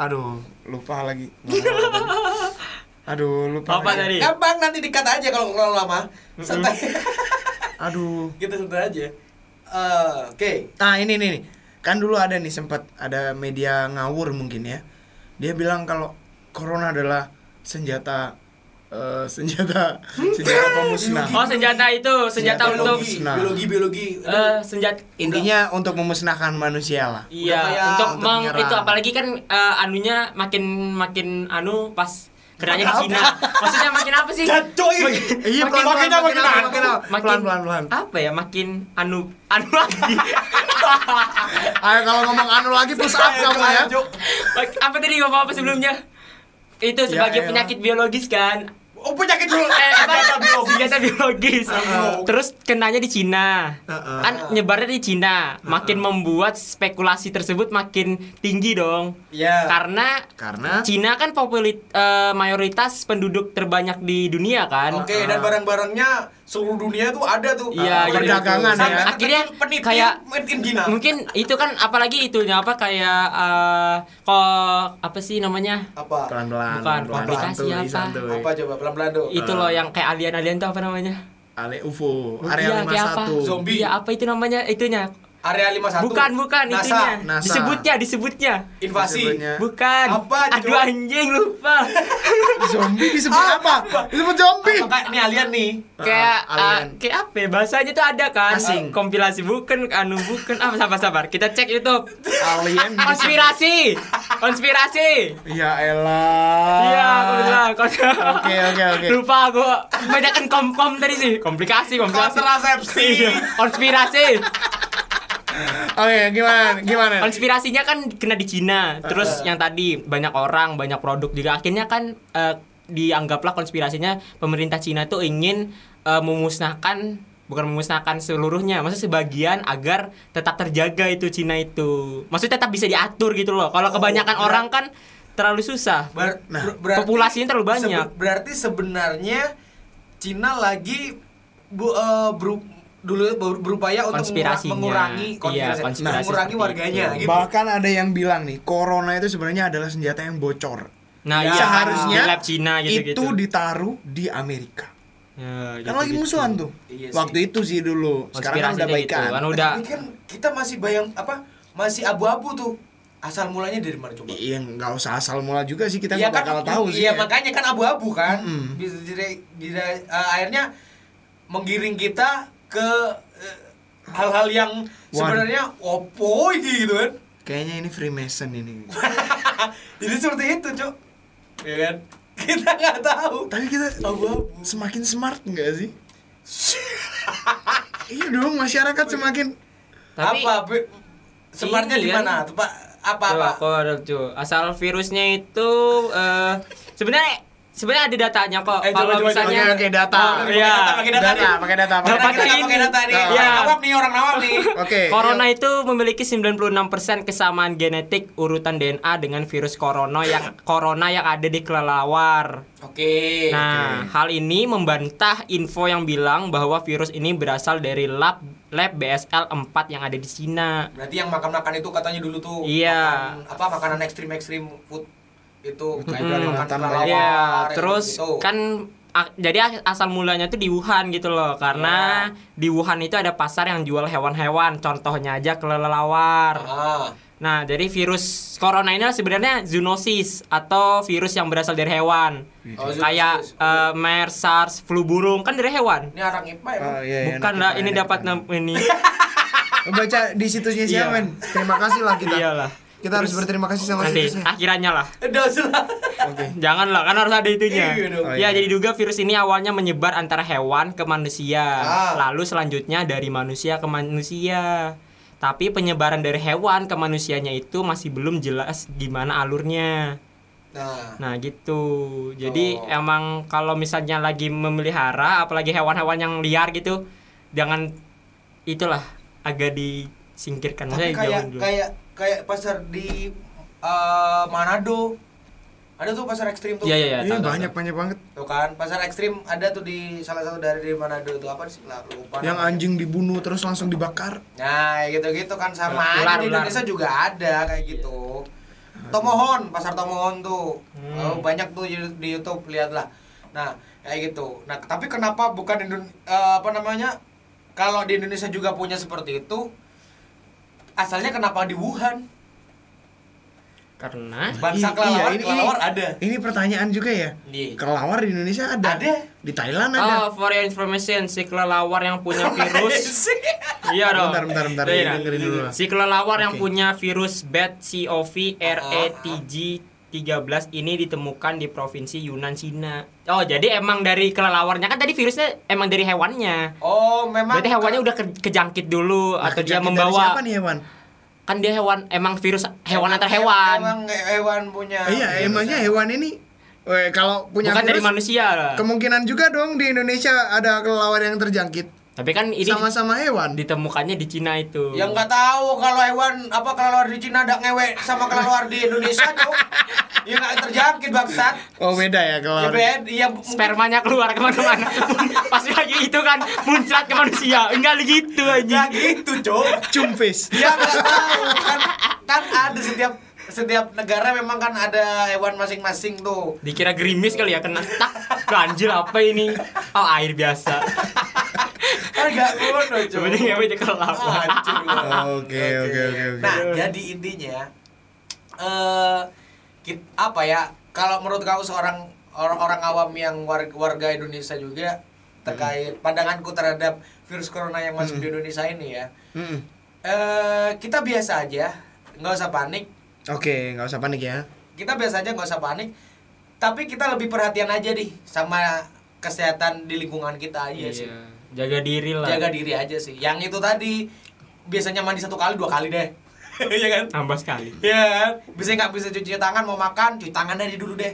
[SPEAKER 5] aduh,
[SPEAKER 2] lupa lagi Ngomong apa tadi. aduh lupa
[SPEAKER 3] Apa
[SPEAKER 2] lagi.
[SPEAKER 3] tadi?
[SPEAKER 4] Gampang nanti dikat aja kalau terlalu lama.
[SPEAKER 3] Hmm.
[SPEAKER 4] Santai.
[SPEAKER 5] aduh.
[SPEAKER 4] Kita santai aja. Eh, Oke.
[SPEAKER 5] Nah ini nih, nih. kan dulu ada nih sempat ada media ngawur mungkin ya. Dia bilang kalau corona adalah senjata eh, senjata senjata pemusnah.
[SPEAKER 3] Oh, senjata itu, senjata
[SPEAKER 5] Senjata
[SPEAKER 3] untuk
[SPEAKER 4] biologi,
[SPEAKER 5] Nah.
[SPEAKER 4] biologi, biologi.
[SPEAKER 3] eh senjata
[SPEAKER 5] Intinya untuk memusnahkan manusia lah.
[SPEAKER 3] Iya,
[SPEAKER 4] kayak
[SPEAKER 3] untuk
[SPEAKER 5] untuk
[SPEAKER 3] meng
[SPEAKER 5] menyerang.
[SPEAKER 3] itu apalagi kan eh, anunya makin makin anu pas kerjanya ke
[SPEAKER 5] Makin
[SPEAKER 3] Cina. Maksudnya makin apa sih?
[SPEAKER 4] Jacoy.
[SPEAKER 5] Iya pelan pelan pelan pelan pelan pelan pelan pelan.
[SPEAKER 3] Apa ya? Makin anu anu lagi.
[SPEAKER 5] Ayo kalau ngomong anu lagi push up kamu ya.
[SPEAKER 3] Mak- apa tadi ngomong apa sebelumnya? Itu
[SPEAKER 5] Ya
[SPEAKER 3] sebagai
[SPEAKER 5] elah.
[SPEAKER 3] penyakit biologis kan.
[SPEAKER 4] Oh penyakit dulu.
[SPEAKER 3] Eh,
[SPEAKER 4] Senjata
[SPEAKER 3] apa?
[SPEAKER 4] biologi.
[SPEAKER 3] Senjata biologis.
[SPEAKER 4] Heeh.
[SPEAKER 3] Terus kenanya di Cina.
[SPEAKER 5] Heeh.
[SPEAKER 3] Kan nyebarnya di Cina. Makin membuat spekulasi tersebut makin tinggi dong.
[SPEAKER 4] Iya.
[SPEAKER 3] Karena
[SPEAKER 5] Karena
[SPEAKER 3] Cina kan populit eh, mayoritas penduduk terbanyak di dunia kan.
[SPEAKER 4] Oke, dan barang-barangnya seluruh dunia tuh ada tuh.
[SPEAKER 3] Iya,
[SPEAKER 5] gitu. Perdagangan ya.
[SPEAKER 4] Sampai
[SPEAKER 3] Akhirnya
[SPEAKER 4] terkecil penitian
[SPEAKER 3] kayak-
[SPEAKER 4] made in China.
[SPEAKER 3] Mungkin itu kan apalagi itu ya, apa kayak eh, kok apa sih namanya?
[SPEAKER 4] apa?
[SPEAKER 5] pelan pelan.
[SPEAKER 3] Bukan, komplikasi apa?
[SPEAKER 4] Apa coba pelan-pelan tuh.
[SPEAKER 3] Itu loh yang kayak alien-alien itu apa namanya?
[SPEAKER 5] Ale UFO, area
[SPEAKER 3] Iya, kayak apa?
[SPEAKER 5] 51.
[SPEAKER 4] Zombie.
[SPEAKER 3] Iya, apa itu namanya? Itunya.
[SPEAKER 4] Area 51.
[SPEAKER 3] Bukan, bukan
[SPEAKER 4] NASA.
[SPEAKER 3] itunya.
[SPEAKER 5] NASA.
[SPEAKER 3] Disebutnya, disebutnya.
[SPEAKER 4] Invasi.
[SPEAKER 5] Disebutnya.
[SPEAKER 3] Bukan.
[SPEAKER 4] Apa,
[SPEAKER 3] Aduh
[SPEAKER 4] Jo?
[SPEAKER 3] anjing lupa.
[SPEAKER 5] Zombie disebut apa? Disebut zombie.
[SPEAKER 4] Apa kayak ini alien nih?
[SPEAKER 3] kayak
[SPEAKER 5] Ah, alien.
[SPEAKER 3] ah, kayak apa ya, bahasanya tuh ada kan
[SPEAKER 5] Asing.
[SPEAKER 3] kompilasi bukan anu bukan apa sabar sabar kita cek YouTube
[SPEAKER 5] Alien.
[SPEAKER 3] konspirasi konspirasi
[SPEAKER 5] Ya elah.
[SPEAKER 3] iya kebetulan kon-
[SPEAKER 5] Oke, oke, oke.
[SPEAKER 3] lupa aku kebanyakan kom kom tadi sih komplikasi komplikasi
[SPEAKER 4] Kontrasepsi.
[SPEAKER 3] Iya, konspirasi
[SPEAKER 5] Oke, gimana? Gimana?
[SPEAKER 3] konspirasinya kan kena di Cina terus
[SPEAKER 5] Iya.
[SPEAKER 3] yang tadi banyak orang banyak produk juga akhirnya kan eh, dianggaplah konspirasinya pemerintah Cina tuh ingin eh, memusnahkan bukan memusnahkan seluruhnya maksudnya sebagian agar tetap terjaga itu Cina itu maksudnya tetap bisa diatur gitu loh kalau
[SPEAKER 5] Oh,
[SPEAKER 3] kebanyakan
[SPEAKER 5] iya.
[SPEAKER 4] berat.
[SPEAKER 3] orang kan terlalu susah
[SPEAKER 4] Ber-
[SPEAKER 5] Nah,
[SPEAKER 4] ber- berarti
[SPEAKER 3] populasinya terlalu banyak.
[SPEAKER 4] sebe- berarti sebenarnya Cina lagi bu, eh, beru- dulu ber- berupaya untuk
[SPEAKER 3] Konspirasinya.
[SPEAKER 4] mengurangi konspirasi,
[SPEAKER 3] Iya, konspirasi
[SPEAKER 4] mengurangi
[SPEAKER 3] seperti
[SPEAKER 4] warganya
[SPEAKER 3] itu.
[SPEAKER 4] gitu.
[SPEAKER 5] Bahkan ada yang bilang nih, corona itu sebenarnya adalah senjata yang bocor.
[SPEAKER 3] nah
[SPEAKER 4] Ya,
[SPEAKER 3] iya kan,
[SPEAKER 5] Seharusnya
[SPEAKER 3] di lab Cina gitu gitu
[SPEAKER 5] itu ditaruh di Amerika.
[SPEAKER 3] ya,
[SPEAKER 5] Kan lagi musuhan tuh.
[SPEAKER 4] Iya sih.
[SPEAKER 5] Waktu itu sih dulu. Sekarang kan udah
[SPEAKER 3] konspirasinya gitu
[SPEAKER 5] baikan.
[SPEAKER 3] kan udah
[SPEAKER 4] Tapi kan kita masih bayang apa masih abu-abu tuh asal mulanya dari mana coba?
[SPEAKER 5] Iya, nggak usah asal mula juga sih kita
[SPEAKER 4] Iya
[SPEAKER 5] nggak
[SPEAKER 3] kan
[SPEAKER 5] bakal tahu sih.
[SPEAKER 4] Iya
[SPEAKER 5] ya.
[SPEAKER 4] makanya kan abu-abu kan.
[SPEAKER 5] Mm-mm.
[SPEAKER 4] Bisa jadi, bisa- eh, akhirnya menggiring kita ke eh, hal-hal yang sebenarnya opo iki gitu kan Ah,
[SPEAKER 5] Kayaknya ini Freemason ini.
[SPEAKER 4] jadi seperti itu cok ya kan kita nggak tahu
[SPEAKER 5] Tapi kita
[SPEAKER 4] Abu-abu.
[SPEAKER 5] semakin smart nggak sih? iya dong, masyarakat semakin
[SPEAKER 3] Tapi-
[SPEAKER 4] apa Be- sebenarnya
[SPEAKER 3] Ini
[SPEAKER 4] di
[SPEAKER 3] kan-
[SPEAKER 4] mana Tepa- apa
[SPEAKER 3] Coba
[SPEAKER 4] apa
[SPEAKER 3] aku ada, cuy. Asal virusnya itu eh sebenarnya sebenarnya ada datanya kok.
[SPEAKER 4] Eh, coba,
[SPEAKER 3] Kalau
[SPEAKER 4] coba,
[SPEAKER 3] misalnya
[SPEAKER 5] Oke, oke, data.
[SPEAKER 3] Oh, iya.
[SPEAKER 4] pakai data pakai data nih.
[SPEAKER 5] pakai data,
[SPEAKER 4] Data kita
[SPEAKER 5] pakai data.
[SPEAKER 3] Pakai
[SPEAKER 4] pakai data nih
[SPEAKER 5] Nah.
[SPEAKER 4] orang nawab nih orang nawab nih
[SPEAKER 5] Oke.
[SPEAKER 3] Corona
[SPEAKER 5] Iya.
[SPEAKER 3] itu memiliki 96% kesamaan genetik urutan DNA dengan virus corona yang corona yang ada di kelelawar.
[SPEAKER 4] oke
[SPEAKER 3] Nah, hal ini membantah info yang bilang bahwa virus ini berasal dari lab lab BSL 4 yang ada di Cina.
[SPEAKER 4] berarti yang makan makan itu katanya dulu tuh
[SPEAKER 3] Iya.
[SPEAKER 4] makan, apa makanan ekstrim ekstrim food itu kayak
[SPEAKER 3] Hmm.
[SPEAKER 4] makan
[SPEAKER 5] Mantan
[SPEAKER 4] kelelawar,
[SPEAKER 3] Iya,
[SPEAKER 4] kayak
[SPEAKER 3] terus
[SPEAKER 4] gitu.
[SPEAKER 3] kan a- jadi a- asal mulanya tuh di Wuhan gitu loh, karena
[SPEAKER 4] Ya.
[SPEAKER 3] di Wuhan itu ada pasar yang jual hewan-hewan, contohnya aja kelelawar.
[SPEAKER 4] ah
[SPEAKER 3] Nah, jadi virus corona ini sebenarnya zoonosis atau virus yang berasal dari hewan.
[SPEAKER 4] Oh, zoonosis.
[SPEAKER 3] Kayak eh, MERS, SARS, flu burung kan dari hewan.
[SPEAKER 4] ini arang ipa ya
[SPEAKER 5] Oh, iya, iya,
[SPEAKER 3] Bukan
[SPEAKER 5] enak,
[SPEAKER 3] lah,
[SPEAKER 5] enak,
[SPEAKER 3] ini
[SPEAKER 5] enak,
[SPEAKER 3] dapat
[SPEAKER 5] enak.
[SPEAKER 3] nam- ini.
[SPEAKER 5] Baca di situsnya
[SPEAKER 3] Iya.
[SPEAKER 5] siapa? Terima kasih lah kita.
[SPEAKER 3] Iyalah.
[SPEAKER 5] Kita harus berterima kasih sama
[SPEAKER 3] Nanti
[SPEAKER 5] situsnya.
[SPEAKER 3] akhirannya lah.
[SPEAKER 4] udah sudah
[SPEAKER 5] Iya,
[SPEAKER 3] Janganlah, kan harus ada itunya.
[SPEAKER 4] Iya dong.
[SPEAKER 5] Oh, iya.
[SPEAKER 3] ya, jadi duga virus ini awalnya menyebar antara hewan ke manusia,
[SPEAKER 4] Ah.
[SPEAKER 3] lalu selanjutnya dari manusia ke manusia. Tapi penyebaran dari hewan ke manusianya itu masih belum jelas gimana alurnya.
[SPEAKER 4] nah
[SPEAKER 3] Nah, gitu. Jadi
[SPEAKER 4] Oh.
[SPEAKER 3] emang kalau misalnya lagi memelihara apalagi hewan-hewan yang liar gitu, jangan itulah agak disingkirkan
[SPEAKER 4] tapi
[SPEAKER 3] Maksudnya
[SPEAKER 4] kayak
[SPEAKER 3] jauhin dulu.
[SPEAKER 4] kayak kayak pasar di eh, Manado ada tuh pasar ekstrim tuh
[SPEAKER 3] Iya, iya, iya.
[SPEAKER 5] Iya,
[SPEAKER 3] tahu, tahu,
[SPEAKER 5] banyak banyak banget.
[SPEAKER 4] tuh kan pasar ekstrim ada tuh di salah satu dari dari Manado tuh apa sih lah lupa
[SPEAKER 5] Yang
[SPEAKER 4] namanya.
[SPEAKER 5] anjing dibunuh terus langsung dibakar.
[SPEAKER 4] Nah, gitu-gitu kan sama aja
[SPEAKER 3] Ular,
[SPEAKER 4] di
[SPEAKER 3] ular. Iya.
[SPEAKER 4] Indonesia juga ada kayak gitu. Tomohon, pasar Tomohon tuh.
[SPEAKER 3] Hmm.
[SPEAKER 4] Oh, banyak tuh di- di YouTube lihatlah. Nah, kayak gitu. Nah, tapi kenapa bukan Indon- eh, apa namanya? Kalau di Indonesia juga punya seperti itu, asalnya kenapa di Wuhan?
[SPEAKER 3] Karena
[SPEAKER 4] Bangsa
[SPEAKER 5] Iya,
[SPEAKER 4] kelelawar,
[SPEAKER 5] ini- ini-
[SPEAKER 4] kelelawar ada.
[SPEAKER 5] Ini pertanyaan juga ya.
[SPEAKER 4] Iya.
[SPEAKER 5] Kelawar di Indonesia ada.
[SPEAKER 4] Ada.
[SPEAKER 5] Di Thailand ada.
[SPEAKER 3] Oh, for your information, si kelelawar yang punya virus. iya dong.
[SPEAKER 5] Bentar, bentar, bentar.
[SPEAKER 3] Iya.
[SPEAKER 5] Dengerin dulu lah.
[SPEAKER 3] Si kelelawar yang
[SPEAKER 5] Oke.
[SPEAKER 3] punya virus E bat COV
[SPEAKER 5] Ah.
[SPEAKER 3] RATG 13 ini ditemukan di provinsi Yunan Cina. Oh, jadi emang dari kelelawarnya kan tadi virusnya emang dari hewannya.
[SPEAKER 4] Oh, memang
[SPEAKER 3] Berarti hewannya udah ke- kejangkit dulu
[SPEAKER 5] Nah,
[SPEAKER 3] atau
[SPEAKER 5] kejangkit
[SPEAKER 3] dia
[SPEAKER 5] dari
[SPEAKER 3] membawa
[SPEAKER 5] Siapa nih hewan?
[SPEAKER 3] kan dia hewan emang virus hewan
[SPEAKER 4] Emang-
[SPEAKER 3] antar hewan.
[SPEAKER 4] Emang hewan punya.
[SPEAKER 5] iya, emangnya hewan ini eh, kalau punya
[SPEAKER 3] Bukan dari
[SPEAKER 5] virus,
[SPEAKER 3] manusia. lah.
[SPEAKER 5] kemungkinan juga dong di Indonesia ada kelelawar yang terjangkit.
[SPEAKER 3] Tapi kan ini
[SPEAKER 5] Sama-sama hewan.
[SPEAKER 3] ditemukannya di Cina itu.
[SPEAKER 4] Yang nggak tahu kalau hewan apa kelelawar di Cina ada ngewe sama kelelawar di Indonesia tuh. ya nggak terjangkit bangsat.
[SPEAKER 5] Oh, beda
[SPEAKER 4] Ya
[SPEAKER 5] ya kelelawar.
[SPEAKER 4] ben, ya
[SPEAKER 3] spermanya keluar kemana-mana pas lagi itu kan muncrat ke manusia enggak gitu
[SPEAKER 4] nggak
[SPEAKER 3] aja
[SPEAKER 4] gitu, Cok.
[SPEAKER 5] Cumpis.
[SPEAKER 4] Dia nggak tahu kan kan ada setiap setiap negara memang kan ada hewan masing-masing tuh.
[SPEAKER 3] dikira gerimis kali ya kena tak ke anjir apa ini oh air biasa
[SPEAKER 4] Kan nggak ngono, Cok.
[SPEAKER 3] sebenarnya apa itu
[SPEAKER 4] Ah,
[SPEAKER 3] kelelawar
[SPEAKER 4] anjing lu.
[SPEAKER 5] Oke, oke, oke, oke.
[SPEAKER 4] Nah, jadi intinya eh kit- apa ya? Kalau menurut kau seorang orang orang awam yang warga, warga Indonesia juga
[SPEAKER 5] Hmm.
[SPEAKER 4] terkait pandanganku terhadap virus corona yang masuk di Indonesia ini ya.
[SPEAKER 5] Mm-mm.
[SPEAKER 4] Eh kita biasa aja, nggak usah panik.
[SPEAKER 5] Oke, nggak usah panik ya.
[SPEAKER 4] Kita biasa aja nggak usah panik. Tapi kita lebih perhatian aja nih sama kesehatan di lingkungan kita aja sih.
[SPEAKER 3] Iya, jaga diri lah
[SPEAKER 4] Jaga diri aja sih. Yang itu tadi biasanya mandi satu kali dua kali deh. Iya kan?
[SPEAKER 3] tambah sekali
[SPEAKER 4] Iya kan? Bisa nggak bisa cuci tangan mau makan, cuci tangan dari dulu deh.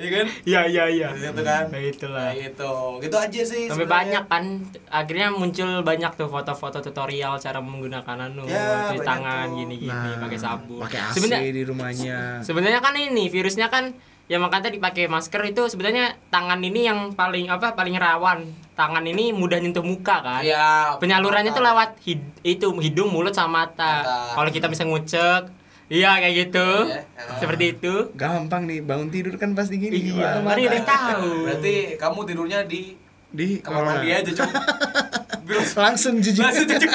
[SPEAKER 4] Iya kan?
[SPEAKER 3] ya ya ya
[SPEAKER 4] Gitu kan?
[SPEAKER 3] Kayak
[SPEAKER 4] Nah,
[SPEAKER 3] itulah
[SPEAKER 4] gitu. Gitu aja sih.
[SPEAKER 3] sampai
[SPEAKER 4] sebenarnya.
[SPEAKER 3] banyak kan akhirnya muncul banyak tuh foto-foto tutorial cara menggunakan anu
[SPEAKER 4] Ya, banyak
[SPEAKER 3] cuci tangan
[SPEAKER 4] tuh.
[SPEAKER 3] gini-gini
[SPEAKER 5] Nah,
[SPEAKER 3] Iya, pakai sabun
[SPEAKER 5] Pakai AC
[SPEAKER 3] Sebenarnya-
[SPEAKER 5] di rumahnya.
[SPEAKER 3] Sebenarnya kan ini virusnya kan ya makanya tadi pakai masker itu sebenarnya tangan ini yang paling apa paling rawan. Tangan ini mudah nyentuh muka kan.
[SPEAKER 4] Iya.
[SPEAKER 3] Penyalurannya tuh lewat hid- itu hidung, mulut sama mata.
[SPEAKER 4] Mata.
[SPEAKER 3] Kalau kita bisa ngucek, iya kayak gitu.
[SPEAKER 4] Iya, iya.
[SPEAKER 3] Seperti itu.
[SPEAKER 5] Gampang nih bangun tidur kan pasti gini.
[SPEAKER 3] Iya,
[SPEAKER 5] Wah,
[SPEAKER 3] kan udah
[SPEAKER 5] mata.
[SPEAKER 3] tahu.
[SPEAKER 4] Berarti kamu tidurnya di
[SPEAKER 5] di
[SPEAKER 4] kamar
[SPEAKER 5] corona.
[SPEAKER 4] mandi aja, Cok. Bilang-
[SPEAKER 5] Langsung jijik.
[SPEAKER 4] Langsung cuci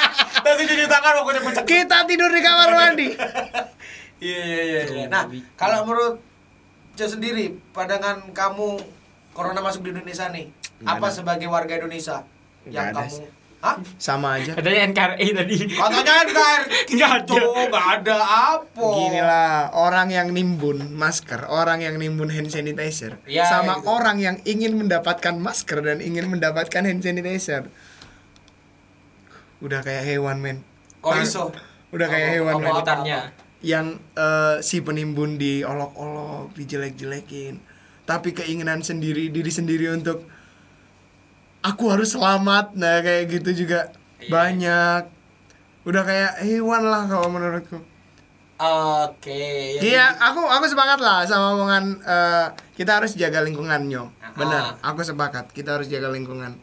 [SPEAKER 4] Langsung cuci tangan pokoknya pecah.
[SPEAKER 5] Kita tidur di kamar mandi.
[SPEAKER 4] Iya, iya, iya, iya. Nah, kalau menurut Cok sendiri, pandangan kamu corona masuk di Indonesia nih,
[SPEAKER 5] Nggak
[SPEAKER 4] apa
[SPEAKER 5] ada.
[SPEAKER 4] sebagai warga Indonesia yang
[SPEAKER 5] Nggak ada
[SPEAKER 4] kamu Hah?
[SPEAKER 5] sama aja
[SPEAKER 3] Katanya NKRI tadi.
[SPEAKER 4] Katanya NKRI
[SPEAKER 3] Nggak ada.
[SPEAKER 4] itu Gitu, nggak ada apa.
[SPEAKER 5] Ginilah orang yang nimbun masker, orang yang nimbun hand sanitizer,
[SPEAKER 4] Ya,
[SPEAKER 5] sama
[SPEAKER 4] gitu.
[SPEAKER 5] orang yang ingin mendapatkan masker dan ingin mendapatkan hand sanitizer. Udah kayak hewan men.
[SPEAKER 4] Koiso.
[SPEAKER 5] Udah kayak
[SPEAKER 4] Apa-
[SPEAKER 5] hewan
[SPEAKER 4] apa-
[SPEAKER 5] men.
[SPEAKER 4] apa-
[SPEAKER 3] Gitarnya.
[SPEAKER 5] Yang eh, si penimbun diolok-olok, dijelek-jelekin, tapi keinginan sendiri diri sendiri untuk aku harus selamat. Nah, kayak gitu juga banyak. Udah kayak hewan lah kalau menurutku.
[SPEAKER 4] Oke. ya,
[SPEAKER 5] Iya, aku aku sepakat lah sama omongan eh, kita harus jaga lingkungan nyom.
[SPEAKER 4] Aha.
[SPEAKER 5] Benar, aku sepakat kita harus jaga lingkungan.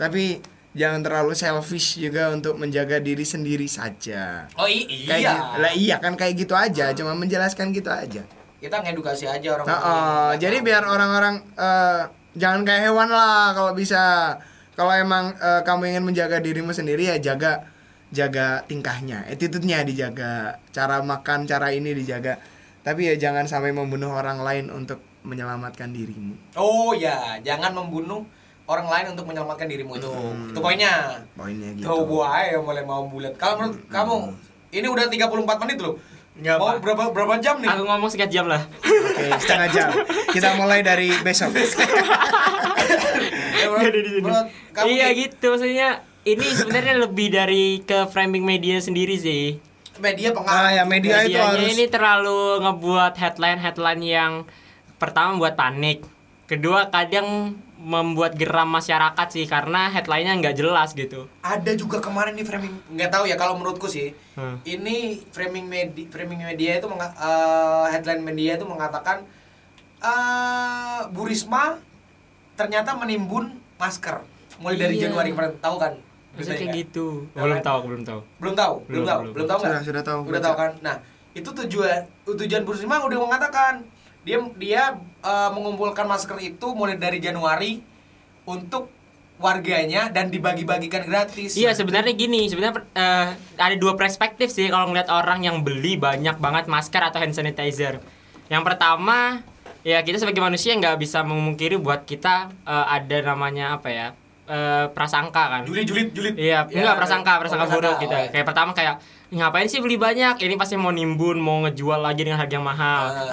[SPEAKER 5] Tapi jangan terlalu selfish juga untuk menjaga diri sendiri saja.
[SPEAKER 4] Oh i-
[SPEAKER 5] Kayak
[SPEAKER 4] iya.
[SPEAKER 5] gitu- lah iya kan kayak gitu aja, cuma menjelaskan gitu aja.
[SPEAKER 4] Kita ngedukasi aja orang.
[SPEAKER 5] Nah, eh, jadi biar orang-orang eh, jangan kayak hewan lah kalau bisa. Kalau emang eh, kamu ingin menjaga dirimu sendiri ya jaga jaga tingkahnya, attitude-nya dijaga, cara makan, cara ini dijaga. Tapi ya jangan sampai membunuh orang lain untuk menyelamatkan dirimu.
[SPEAKER 4] Oh ya, jangan membunuh orang lain untuk menyelamatkan dirimu itu.
[SPEAKER 5] Hmm.
[SPEAKER 4] Itu poinnya.
[SPEAKER 5] Poinnya gitu. Hmm.
[SPEAKER 4] Tuh gua aja yang mulai mau bulat. Kalau menurut kamu ini udah 34 menit loh.
[SPEAKER 3] Nggak
[SPEAKER 4] mau
[SPEAKER 3] apa.
[SPEAKER 4] berapa berapa jam nih?
[SPEAKER 3] Aku ngomong sekian jam lah.
[SPEAKER 5] Oke, setengah jam. Kita mulai dari besok.
[SPEAKER 4] Ya, menurut-
[SPEAKER 3] Nggak ada di sini.
[SPEAKER 4] menurut kamu
[SPEAKER 3] Iya
[SPEAKER 4] nih,
[SPEAKER 3] gitu maksudnya. Ini sebenarnya lebih dari ke framing media sendiri sih.
[SPEAKER 4] Media pengaruh.
[SPEAKER 5] Ah, ya media itu
[SPEAKER 3] Medianya
[SPEAKER 5] harus
[SPEAKER 3] ini terlalu ngebuat headline-headline yang pertama buat panik, kedua kadang membuat geram masyarakat sih karena headline-nya nggak jelas gitu.
[SPEAKER 4] Ada juga kemarin nih framing nggak tahu ya kalau menurutku sih.
[SPEAKER 3] Hmm.
[SPEAKER 4] Ini framing media framing media itu menga- eh, headline media itu mengatakan eh Burisma ternyata menimbun masker mulai dari
[SPEAKER 3] Iya.
[SPEAKER 4] Januari kemarin tahu kan? beritanya
[SPEAKER 3] Bisa kayak
[SPEAKER 4] kan?
[SPEAKER 3] gitu.
[SPEAKER 4] Ya
[SPEAKER 3] Belum
[SPEAKER 4] kan?
[SPEAKER 3] tahu, aku belum tahu.
[SPEAKER 4] belum tahu belum
[SPEAKER 3] Belum,
[SPEAKER 4] tahu
[SPEAKER 3] belum.
[SPEAKER 4] belum tahu nggak
[SPEAKER 5] Sudah, sudah tahu,
[SPEAKER 4] udah
[SPEAKER 5] baca.
[SPEAKER 4] tahu kan nah itu tujuan tujuan Bu Risma udah mengatakan dia dia eh, mengumpulkan masker itu mulai dari Januari untuk warganya dan dibagi-bagikan gratis
[SPEAKER 3] Iya sebenarnya gini, sebenarnya per- eh, ada dua perspektif sih kalau ngeliat orang yang beli banyak banget masker atau hand sanitizer. Yang pertama, ya kita sebagai manusia nggak bisa memungkiri buat kita eh, ada namanya apa ya eh, prasangka kan.
[SPEAKER 4] julid julid julid
[SPEAKER 3] Iya, enggak
[SPEAKER 4] oh,
[SPEAKER 3] prasangka, prasangka buruk
[SPEAKER 4] kita
[SPEAKER 3] gitu. Kayak pertama kayak "Ih, ngapain sih beli banyak? Ini pasti mau nimbun, mau ngejual lagi dengan harga yang mahal.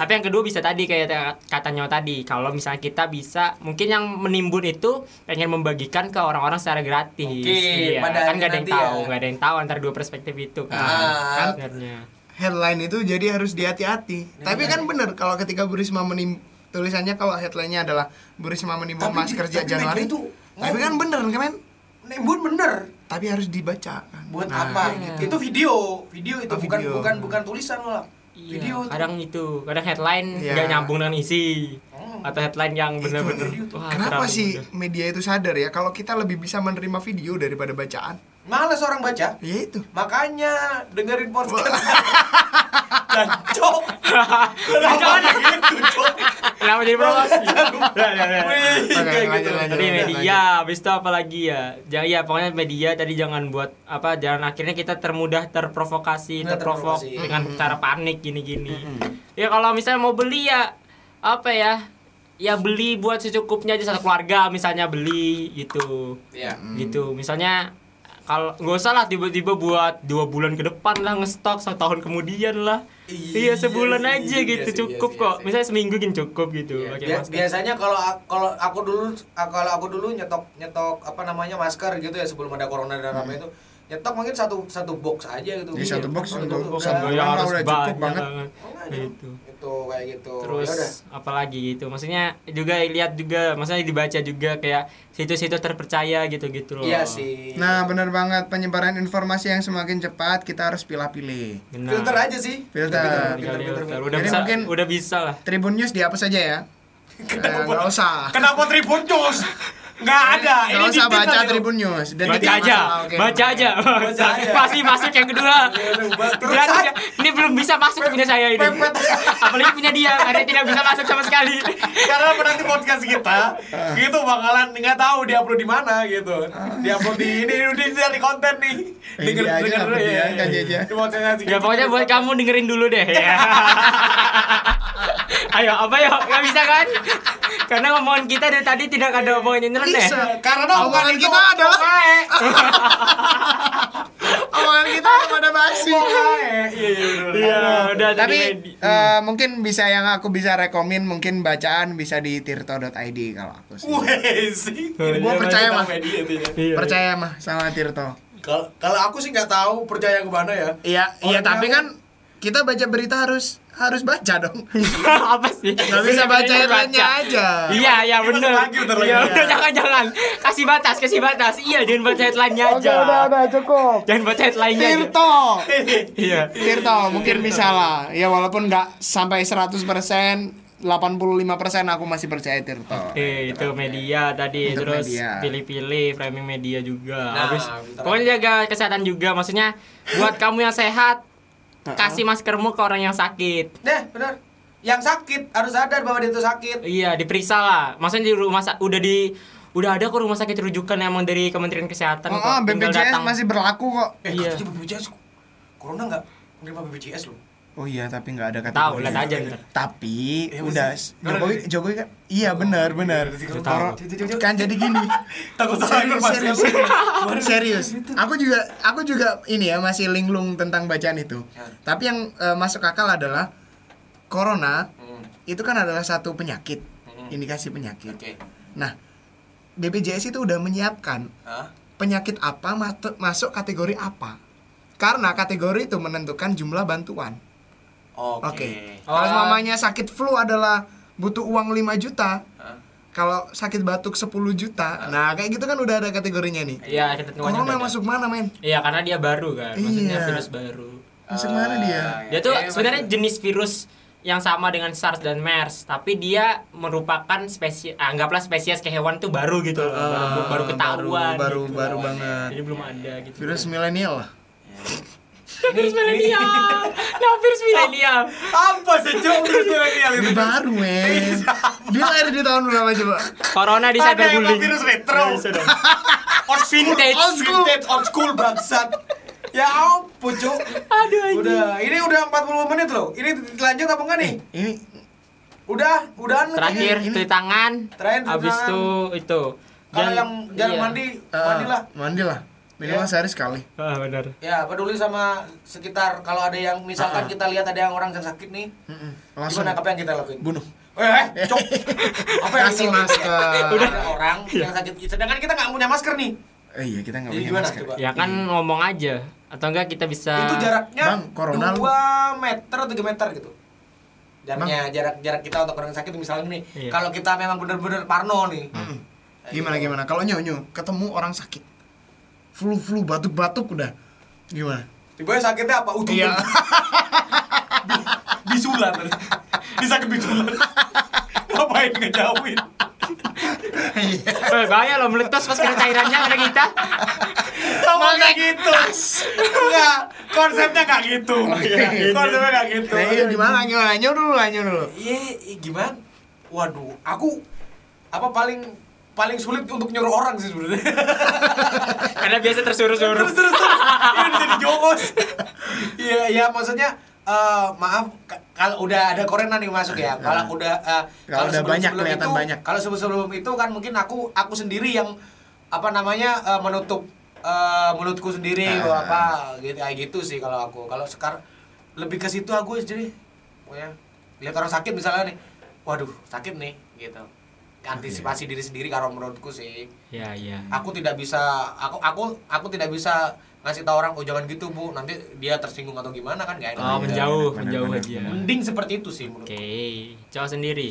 [SPEAKER 4] Ah.
[SPEAKER 3] Tapi yang kedua bisa tadi kayak ta- katanya tadi, kalau misalnya kita bisa mungkin yang menimbun itu pengen membagikan ke orang-orang secara gratis.
[SPEAKER 4] Mungkin, pada
[SPEAKER 3] Iya, kan
[SPEAKER 4] akhirnya
[SPEAKER 3] nggak ada yang
[SPEAKER 4] nanti ya.
[SPEAKER 3] tahu, nggak ada yang tahu antara dua perspektif itu kan.
[SPEAKER 4] Ah, kan.
[SPEAKER 3] Sebenarnya.
[SPEAKER 5] headline itu jadi harus dihati-hati.
[SPEAKER 4] Nah,
[SPEAKER 5] Tapi kan bener kalau ketika Burisma menim tulisannya kalau headline-nya adalah Burisma menimbun
[SPEAKER 4] Tapi di-
[SPEAKER 5] masker sejak
[SPEAKER 4] tapi
[SPEAKER 5] Januari.
[SPEAKER 4] media itu
[SPEAKER 5] tapi kan bener kan men?
[SPEAKER 4] nimbun bener
[SPEAKER 5] Tapi harus dibaca kan.
[SPEAKER 4] buat
[SPEAKER 5] Nah,
[SPEAKER 4] apa itu video video itu
[SPEAKER 5] Oh,
[SPEAKER 4] bukan
[SPEAKER 5] video.
[SPEAKER 4] bukan bukan tulisan malah
[SPEAKER 3] Iya,
[SPEAKER 4] video itu.
[SPEAKER 3] kadang itu, kadang headline
[SPEAKER 5] Iya.
[SPEAKER 3] nggak nyambung dengan isi
[SPEAKER 4] Hmm.
[SPEAKER 3] atau headline yang
[SPEAKER 5] itu.
[SPEAKER 3] bener-bener. Wah,
[SPEAKER 5] Kenapa
[SPEAKER 3] terlalu
[SPEAKER 5] sih
[SPEAKER 3] mudah.
[SPEAKER 5] media itu sadar ya kalau kita lebih bisa menerima video daripada bacaan?
[SPEAKER 4] malas orang baca
[SPEAKER 5] Ya itu.
[SPEAKER 4] Makanya dengerin podcast. Jancok.
[SPEAKER 3] Jangan.
[SPEAKER 4] gitu, Cok?
[SPEAKER 3] Kenapa jadi promosi? Ya, ya, ya.
[SPEAKER 4] Wih,
[SPEAKER 5] Oke,
[SPEAKER 4] kayak
[SPEAKER 5] lanjut,
[SPEAKER 4] gitu.
[SPEAKER 5] lanjut.
[SPEAKER 3] Tadi media, habis itu apa lagi ya? Jangan ya pokoknya media tadi jangan buat apa jangan akhirnya kita termudah terprovokasi,
[SPEAKER 4] Mudah
[SPEAKER 3] terprovok
[SPEAKER 4] Nah, terprovokasi.
[SPEAKER 3] dengan cara panik gini-gini. Ya kalau misalnya mau beli ya apa ya? Ya beli buat secukupnya aja satu keluarga misalnya beli gitu.
[SPEAKER 4] Iya.
[SPEAKER 3] Gitu. Misalnya kalau nggak usah lah tiba-tiba buat dua bulan ke depan lah ngestok satu tahun kemudian lah
[SPEAKER 4] Iya
[SPEAKER 3] iya sebulan
[SPEAKER 4] sih,
[SPEAKER 3] aja
[SPEAKER 4] iya
[SPEAKER 3] gitu
[SPEAKER 4] sih,
[SPEAKER 3] cukup
[SPEAKER 4] iya sih,
[SPEAKER 3] kok
[SPEAKER 4] iya sih.
[SPEAKER 3] misalnya seminggu gini cukup gitu
[SPEAKER 4] Iya.
[SPEAKER 3] pakai
[SPEAKER 4] Bia-
[SPEAKER 3] masker.
[SPEAKER 4] biasanya kalau a- kalau aku dulu a- kalau aku dulu nyetok nyetok apa namanya masker gitu ya sebelum ada corona dan apa itu nyetok mungkin satu satu box aja gitu.
[SPEAKER 5] Di Hmm. Iya, satu box
[SPEAKER 4] Satu
[SPEAKER 5] untuk
[SPEAKER 4] box Nah,
[SPEAKER 5] satu
[SPEAKER 4] Iya, udah.
[SPEAKER 3] yang
[SPEAKER 5] Orang
[SPEAKER 3] Iya, harus
[SPEAKER 5] udah
[SPEAKER 3] banyak
[SPEAKER 5] cukup
[SPEAKER 3] banget,
[SPEAKER 5] banget.
[SPEAKER 3] gitu
[SPEAKER 4] Itu kayak gitu.
[SPEAKER 3] terus
[SPEAKER 4] Yaudah.
[SPEAKER 3] apalagi gitu maksudnya juga lihat juga maksudnya dibaca juga kayak situs-situs terpercaya gitu gitu loh
[SPEAKER 4] Iya sih.
[SPEAKER 5] Nah, bener banget penyebaran informasi yang semakin cepat kita harus pilih-pilih.
[SPEAKER 3] Benar.
[SPEAKER 4] filter aja sih.
[SPEAKER 5] Filter.
[SPEAKER 4] Filter, filter,
[SPEAKER 3] Tinggal filter.
[SPEAKER 4] filter.
[SPEAKER 3] udah
[SPEAKER 5] Jadi
[SPEAKER 3] bisa
[SPEAKER 5] mungkin-
[SPEAKER 3] udah bisa lah
[SPEAKER 5] Tribun News dihapus aja ya. Eh, Nggak usah.
[SPEAKER 4] Kenapa Tribun News? Nggak ada.
[SPEAKER 5] Nggak usah
[SPEAKER 4] dipin
[SPEAKER 5] baca
[SPEAKER 4] aja.
[SPEAKER 5] Tribun News. Dan
[SPEAKER 3] baca
[SPEAKER 5] tidak
[SPEAKER 3] aja
[SPEAKER 5] masalah, Ah, oke.
[SPEAKER 3] baca aja
[SPEAKER 4] Baca aja.
[SPEAKER 3] pasti masuk yang kedua
[SPEAKER 4] Terus,
[SPEAKER 3] Dia tidak- ini belum bisa masuk punya saya ini
[SPEAKER 4] Pepet.
[SPEAKER 3] apalagi punya dia ada yang tidak bisa masuk sama sekali
[SPEAKER 4] karena penanti podcast kita gitu bakalan nggak tahu dia upload di mana gitu dia upload di ini udah cari konten nih Iya,
[SPEAKER 5] Eh, dia aja upload dia, kaji aja.
[SPEAKER 3] ya pokoknya buat kamu dengerin dulu deh ya. ayo apa yuk nggak bisa kan Karena omongan kita dari tadi tidak ada omongan yang nyeleneh.
[SPEAKER 5] ya?
[SPEAKER 4] Karena omongan
[SPEAKER 5] Omongan
[SPEAKER 4] itu
[SPEAKER 5] kita adalah omongan kita kepada basi.
[SPEAKER 3] Iya, udah
[SPEAKER 5] Tapi
[SPEAKER 3] tadi-
[SPEAKER 5] eh, mungkin bisa yang aku bisa rekomin mungkin bacaan bisa di tirto.id kalau aku sih.
[SPEAKER 4] Wesi.
[SPEAKER 5] Gua percaya, Mas.
[SPEAKER 3] Iya,
[SPEAKER 5] Percaya mah sama Tirto.
[SPEAKER 4] Kalau kalau aku sih nggak tahu percaya ke mana ya.
[SPEAKER 5] Iya, iya
[SPEAKER 4] Orang
[SPEAKER 5] tapi
[SPEAKER 4] yang-
[SPEAKER 5] kan kita baca berita harus harus baca dong.
[SPEAKER 3] iya. Apa sih?
[SPEAKER 5] Gak bisa baca headline-nya aja.
[SPEAKER 3] Iya, iya bener.
[SPEAKER 4] lagi, bentar lagi.
[SPEAKER 3] Iya, udah jangan jangan. Kasih batas, kasih batas. Iya, jangan baca headline-nya aja.
[SPEAKER 5] cukup.
[SPEAKER 3] Jangan baca headline-nya. aja.
[SPEAKER 5] Tirto.
[SPEAKER 3] Iya.
[SPEAKER 5] iya. Tirto mungkin bisa lah. Ya walaupun nggak sampai 100%, 85% aku masih percaya Tirto.
[SPEAKER 3] Oke, Iya, itu media tadi
[SPEAKER 5] Iya, Untuk
[SPEAKER 3] terus
[SPEAKER 5] media.
[SPEAKER 3] pilih-pilih framing media juga.
[SPEAKER 4] Nah,
[SPEAKER 3] Habis
[SPEAKER 4] bentar.
[SPEAKER 3] pokoknya jaga kesehatan juga maksudnya buat kamu yang sehat kasih maskermu ke orang yang sakit.
[SPEAKER 4] Nah, benar. Yang sakit harus sadar bahwa dia itu sakit.
[SPEAKER 3] Iya, diperiksa lah. Maksudnya di rumah sa- udah di udah ada kok rumah sakit rujukan emang dari Kementerian Kesehatan
[SPEAKER 5] Oh,
[SPEAKER 3] kok.
[SPEAKER 5] oh,
[SPEAKER 3] Tinggal
[SPEAKER 5] BPJS
[SPEAKER 3] datang.
[SPEAKER 5] masih berlaku kok.
[SPEAKER 4] Eh,
[SPEAKER 3] Iya.
[SPEAKER 4] katanya BPJS. Corona nggak menerima BPJS loh.
[SPEAKER 5] Oh iya, tapi nggak ada kata.
[SPEAKER 3] Tahu, lihat aja ntar.
[SPEAKER 5] Tapi
[SPEAKER 4] Iya,
[SPEAKER 5] udah
[SPEAKER 4] mesti.
[SPEAKER 5] Jokowi Jokowi kan iya benar benar. Orang- Kan jadi gini.
[SPEAKER 4] Takut salah
[SPEAKER 5] Serius,
[SPEAKER 4] informasi.
[SPEAKER 5] serius, serius. serius. Aku juga aku juga ini ya masih linglung tentang bacaan itu.
[SPEAKER 4] Ya.
[SPEAKER 5] Tapi yang eh, masuk akal adalah corona
[SPEAKER 4] Hmm,
[SPEAKER 5] itu kan adalah satu penyakit,
[SPEAKER 4] Hmm.
[SPEAKER 5] indikasi penyakit.
[SPEAKER 4] Oke.
[SPEAKER 5] Nah, BPJS itu udah menyiapkan
[SPEAKER 4] Hah?
[SPEAKER 5] penyakit apa matu- masuk kategori apa. Karena kategori itu menentukan jumlah bantuan.
[SPEAKER 4] Oke.
[SPEAKER 5] Oke.
[SPEAKER 3] Oh.
[SPEAKER 5] Kalau mamanya sakit flu adalah butuh uang 5 juta.
[SPEAKER 4] Hah?
[SPEAKER 5] Kalau sakit batuk 10 juta. Nah, kayak gitu kan udah ada kategorinya nih.
[SPEAKER 3] Iya, kita tunggu aja
[SPEAKER 5] Corona
[SPEAKER 3] udah ada.
[SPEAKER 5] masuk mana, men?
[SPEAKER 3] Iya, karena dia baru kan. Maksudnya
[SPEAKER 5] Iya.
[SPEAKER 3] virus baru.
[SPEAKER 5] Masuk mana dia?
[SPEAKER 4] Ah,
[SPEAKER 3] Dia tuh
[SPEAKER 4] iya,
[SPEAKER 3] sebenarnya
[SPEAKER 4] maksudnya-
[SPEAKER 3] jenis virus yang sama dengan SARS dan MERS, tapi dia merupakan spesies anggaplah spesies kehewan tuh baru gitu loh, baru,
[SPEAKER 4] Ah,
[SPEAKER 3] baru ketahuan.
[SPEAKER 5] baru
[SPEAKER 3] gitu.
[SPEAKER 5] baru banget.
[SPEAKER 3] Jadi belum ada gitu.
[SPEAKER 5] Virus milenial lah.
[SPEAKER 3] virus milenial. Nah, virus milenial.
[SPEAKER 4] apa sih cuy virus milenial itu?
[SPEAKER 5] Ini baru, men. Dia lahir di tahun berapa coba?
[SPEAKER 3] Corona
[SPEAKER 4] Ada
[SPEAKER 3] di
[SPEAKER 4] yang
[SPEAKER 3] cyberbullying. Iya,
[SPEAKER 4] virus retro. Old school,
[SPEAKER 3] Vintage.
[SPEAKER 4] old school, vintage, old school bangsat. Ya ampun, Cuk.
[SPEAKER 3] Aduh anjing.
[SPEAKER 4] Udah, ini udah 40 menit loh. Ini lanjut apa enggak nih?
[SPEAKER 5] Ini
[SPEAKER 4] Udah, udahan lu.
[SPEAKER 3] Terakhir
[SPEAKER 5] Ini- ini-
[SPEAKER 3] cuci tangan.
[SPEAKER 4] Terakhir cuci
[SPEAKER 3] Habis
[SPEAKER 4] tangan.
[SPEAKER 3] itu itu.
[SPEAKER 4] Kalau yang jarang
[SPEAKER 3] iya.
[SPEAKER 4] mandi,
[SPEAKER 5] eh,
[SPEAKER 4] mandilah.
[SPEAKER 5] Mandilah. Minimal
[SPEAKER 4] Iya.
[SPEAKER 5] sehari sekali.
[SPEAKER 3] Ah, benar.
[SPEAKER 4] Ya, peduli sama sekitar. Kalau ada yang misalkan kita lihat ada yang orang yang sakit nih,
[SPEAKER 5] Mm-mm. Eh. Langsung
[SPEAKER 4] gimana apa yang kita lakuin?
[SPEAKER 5] bunuh.
[SPEAKER 4] Eh, eh, cok. Apa yang
[SPEAKER 5] Kasih
[SPEAKER 4] kita lakuin?
[SPEAKER 5] masker.
[SPEAKER 4] Ada orang yang sakit. Sedangkan kita nggak punya masker nih.
[SPEAKER 5] Eh, iya, kita nggak
[SPEAKER 4] Jadi
[SPEAKER 5] punya
[SPEAKER 4] gimana
[SPEAKER 5] masker.
[SPEAKER 4] coba?
[SPEAKER 3] Ya kan ngomong aja atau enggak kita bisa
[SPEAKER 4] itu jaraknya
[SPEAKER 5] Bang, corona lu.
[SPEAKER 4] 2 meter atau 3 meter gitu jaraknya jarak jarak kita untuk orang sakit misalnya nih
[SPEAKER 3] Iya.
[SPEAKER 4] kalau kita memang benar-benar parno nih
[SPEAKER 5] Hmm.
[SPEAKER 4] hmm, Kayak
[SPEAKER 5] Gimana
[SPEAKER 4] gitu.
[SPEAKER 5] gimana? Kalau nyonyo ketemu orang sakit. Flu flu batuk batuk udah. Gimana?
[SPEAKER 4] tiba-tiba sakitnya apa utuh
[SPEAKER 5] Iya.
[SPEAKER 4] bisulan bisa ke bisulan ngapain ngejauhin
[SPEAKER 5] Iya.
[SPEAKER 3] Eh, bahaya loh meletus pas kena cairannya pada kita.
[SPEAKER 4] sama kayak gitu enggak konsepnya nggak gitu konsepnya nggak gitu
[SPEAKER 5] Oh, iya, Nah, iya, gimana gimana? Nyonyo dulu, lah, nyonyo dulu.
[SPEAKER 4] iya iya, gimana waduh aku apa paling paling sulit untuk nyuruh orang sih sebenarnya
[SPEAKER 3] Karena biasa tersuruh-suruh.
[SPEAKER 4] terus terus terus Iya, udah jadi jokos iya iya maksudnya eh, maaf k- kalau udah ada corona nih masuk ya kalau aku udah eh,
[SPEAKER 5] Nah, Kalau udah
[SPEAKER 4] sebelum-
[SPEAKER 5] banyak,
[SPEAKER 4] sebelum
[SPEAKER 5] kelihatan
[SPEAKER 4] itu-
[SPEAKER 5] banyak.
[SPEAKER 4] kalau sebelum sebelum itu kan mungkin aku aku sendiri yang apa namanya eh, menutup eh, mulutku sendiri atau
[SPEAKER 5] Ah.
[SPEAKER 4] apa gitu kayak gitu sih kalau aku kalau sekarang lebih ke situ aku jadi pokoknya lihat orang sakit misalnya nih waduh sakit nih gitu antisipasi diri sendiri kalau menurutku sih
[SPEAKER 3] Ya, ya.
[SPEAKER 4] aku tidak bisa aku aku aku tidak bisa ngasih tahu orang oh jangan gitu bu nanti dia tersinggung atau gimana kan nggak enak juga.
[SPEAKER 3] Oh, menjauh,
[SPEAKER 5] benar,
[SPEAKER 3] menjauh
[SPEAKER 5] benar,
[SPEAKER 3] aja.
[SPEAKER 4] mending seperti itu sih menurut
[SPEAKER 3] Oke, cowok sendiri.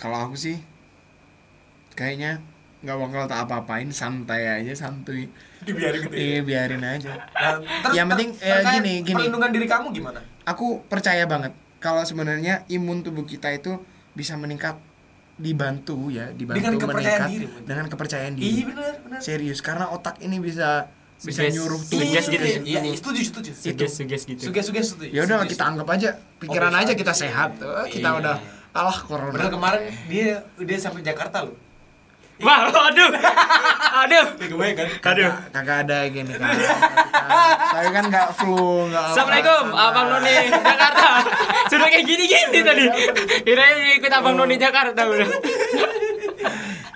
[SPEAKER 5] Kalau aku sih kayaknya nggak bakal tak apa-apain santai aja santuy
[SPEAKER 4] dibiarin gitu ya.
[SPEAKER 5] iya biarin aja
[SPEAKER 4] Nah,
[SPEAKER 5] Yang penting,
[SPEAKER 4] ter-
[SPEAKER 5] ya,
[SPEAKER 4] terkait
[SPEAKER 5] gini, Hmm. gini.
[SPEAKER 4] perlindungan diri kamu gimana
[SPEAKER 5] aku percaya banget kalau sebenarnya imun tubuh kita itu bisa meningkat dibantu ya dibantu
[SPEAKER 4] Dengan kepercayaan
[SPEAKER 5] meningkat
[SPEAKER 4] diri, mungkin.
[SPEAKER 5] dengan kepercayaan
[SPEAKER 4] iya
[SPEAKER 5] diri
[SPEAKER 4] benar benar
[SPEAKER 5] serius karena otak ini bisa bisa
[SPEAKER 3] Suggest-
[SPEAKER 5] nyuruh tubuh
[SPEAKER 3] suggest
[SPEAKER 4] Iya,
[SPEAKER 3] gitu.
[SPEAKER 4] iya, iya iya, setuju setuju
[SPEAKER 3] Suges-suges gitu.
[SPEAKER 4] suges suges setuju
[SPEAKER 5] ya udah
[SPEAKER 4] Suges.
[SPEAKER 5] kita anggap aja pikiran
[SPEAKER 4] Oke,
[SPEAKER 5] aja
[SPEAKER 4] oke.
[SPEAKER 5] kita sehat Eh, kita
[SPEAKER 4] Iya.
[SPEAKER 5] udah alah corona
[SPEAKER 4] Padahal kemarin dia dia sampai Jakarta loh
[SPEAKER 3] Wah, aduh. Aduh.
[SPEAKER 4] ya kebayang kan
[SPEAKER 5] kagak, kagak ada gini kan Tapi kan nggak flu, nggak.
[SPEAKER 3] Assalamualaikum, Abang Noni Jakarta. Sudah kayak gini-gini tadi. Kirain ikut Abang Noni Jakarta udah.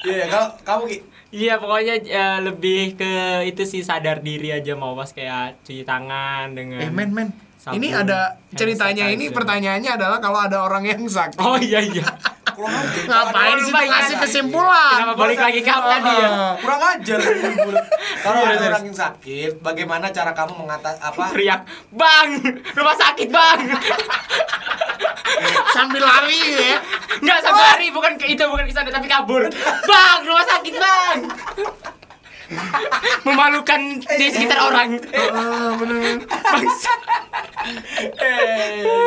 [SPEAKER 4] Iya, kalau kamu Ki.
[SPEAKER 3] Iya pokoknya eh, lebih ke itu sih sadar diri aja mau pas kayak cuci tangan dengan.
[SPEAKER 5] Eh men men.
[SPEAKER 3] Sabun,
[SPEAKER 5] Ini ada
[SPEAKER 3] hand
[SPEAKER 5] ceritanya ini
[SPEAKER 3] sanitizer.
[SPEAKER 5] pertanyaannya adalah kalau ada orang yang sakit.
[SPEAKER 3] Oh iya iya.
[SPEAKER 4] Kurang ajar. Iya.
[SPEAKER 5] Ngapain
[SPEAKER 3] Orang
[SPEAKER 5] sih tuh
[SPEAKER 3] banyak.
[SPEAKER 5] ngasih kesimpulan?
[SPEAKER 3] Kenapa balik lagi ke apa tadi ya?
[SPEAKER 5] Ah.
[SPEAKER 4] Kurang ajar. Kalau
[SPEAKER 5] Iya,
[SPEAKER 4] ada orang yang sakit, bagaimana cara kamu mengatas apa?
[SPEAKER 3] Teriak, bang, rumah sakit bang.
[SPEAKER 5] Sambil lari ya.
[SPEAKER 3] Nggak sampai lari, bukan ke itu, bukan ke sana, tapi kabur. Bang, rumah sakit bang. Memalukan di sekitar orang.
[SPEAKER 5] Ah, bener.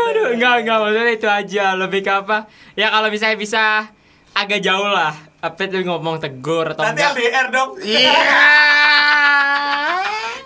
[SPEAKER 3] Aduh, enggak, enggak, maksudnya itu aja Lebih ke apa Ya kalau misalnya bisa agak jauh lah Apa itu ngomong tegur atau
[SPEAKER 4] Nanti
[SPEAKER 3] enggak
[SPEAKER 4] LDR dong.
[SPEAKER 5] Iya.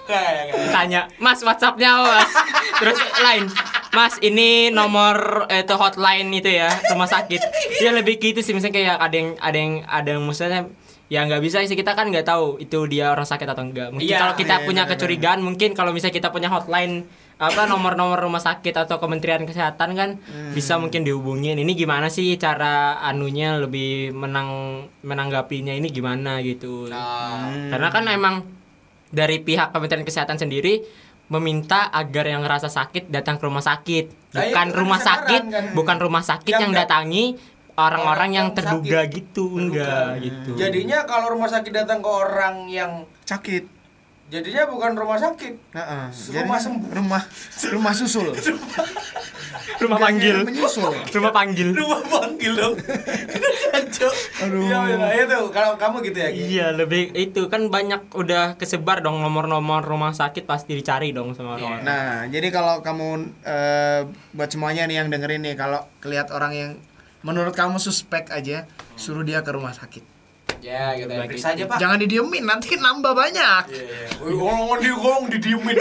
[SPEAKER 4] Nah, ya, ya.
[SPEAKER 3] Tanya, mas whatsappnya mas Terus lain Mas ini nomor eh, itu hotline itu ya rumah sakit. Ya lebih gitu sih misalnya kayak ada yang ada yang ada yang misalnya ya nggak bisa sih kita kan nggak tahu itu dia orang sakit atau enggak. Mungkin
[SPEAKER 4] Iya.
[SPEAKER 3] kalau kita
[SPEAKER 5] Iya,
[SPEAKER 3] punya
[SPEAKER 5] benar-benar.
[SPEAKER 3] kecurigaan mungkin kalau misalnya kita punya hotline apa nomor-nomor rumah sakit atau kementerian kesehatan kan
[SPEAKER 5] Hmm.
[SPEAKER 3] bisa mungkin dihubungin ini gimana sih cara anunya lebih menang menanggapinya ini gimana gitu
[SPEAKER 5] Oh,
[SPEAKER 4] Nah.
[SPEAKER 3] karena kan emang dari pihak kementerian kesehatan sendiri meminta agar yang ngerasa sakit datang ke rumah
[SPEAKER 4] Nah,
[SPEAKER 3] sakit bukan
[SPEAKER 4] itu kan
[SPEAKER 3] rumah
[SPEAKER 4] sekarang
[SPEAKER 3] sakit
[SPEAKER 4] kan.
[SPEAKER 3] bukan rumah sakit
[SPEAKER 4] Yang
[SPEAKER 3] yang
[SPEAKER 4] nggak-
[SPEAKER 3] datangi orang-orang yang
[SPEAKER 4] Orang
[SPEAKER 3] terduga
[SPEAKER 4] sakit.
[SPEAKER 3] gitu
[SPEAKER 4] Terduga. Nah,
[SPEAKER 3] enggak gitu
[SPEAKER 4] Jadinya kalau rumah sakit datang ke orang yang
[SPEAKER 5] Sakit.
[SPEAKER 4] jadinya bukan rumah sakit.
[SPEAKER 5] Heeh.
[SPEAKER 4] Rumah
[SPEAKER 5] Jadi, kan
[SPEAKER 4] sembuh.
[SPEAKER 5] Rumah rumah susul.
[SPEAKER 3] rumah panggil
[SPEAKER 5] Menyusul.
[SPEAKER 3] rumah panggil
[SPEAKER 4] Rumah panggil dong. Kacau. Iya, iya, itu kalau kamu gitu ya. Ki?
[SPEAKER 3] Iya lebih itu kan banyak udah kesebar dong nomor-nomor rumah sakit pasti dicari dong
[SPEAKER 4] Iya.
[SPEAKER 3] sama orang.
[SPEAKER 5] Nah, jadi kalau kamu eh, buat semuanya nih yang dengerin nih kalau kelihat orang yang menurut kamu suspek aja, suruh dia ke rumah sakit.
[SPEAKER 4] Ya, gitu. ya.
[SPEAKER 3] Bagi-
[SPEAKER 4] Periksa aja, Pak.
[SPEAKER 5] Jangan didiemin, nanti nambah banyak.
[SPEAKER 4] Wih, iya, Orang di orang didiemin.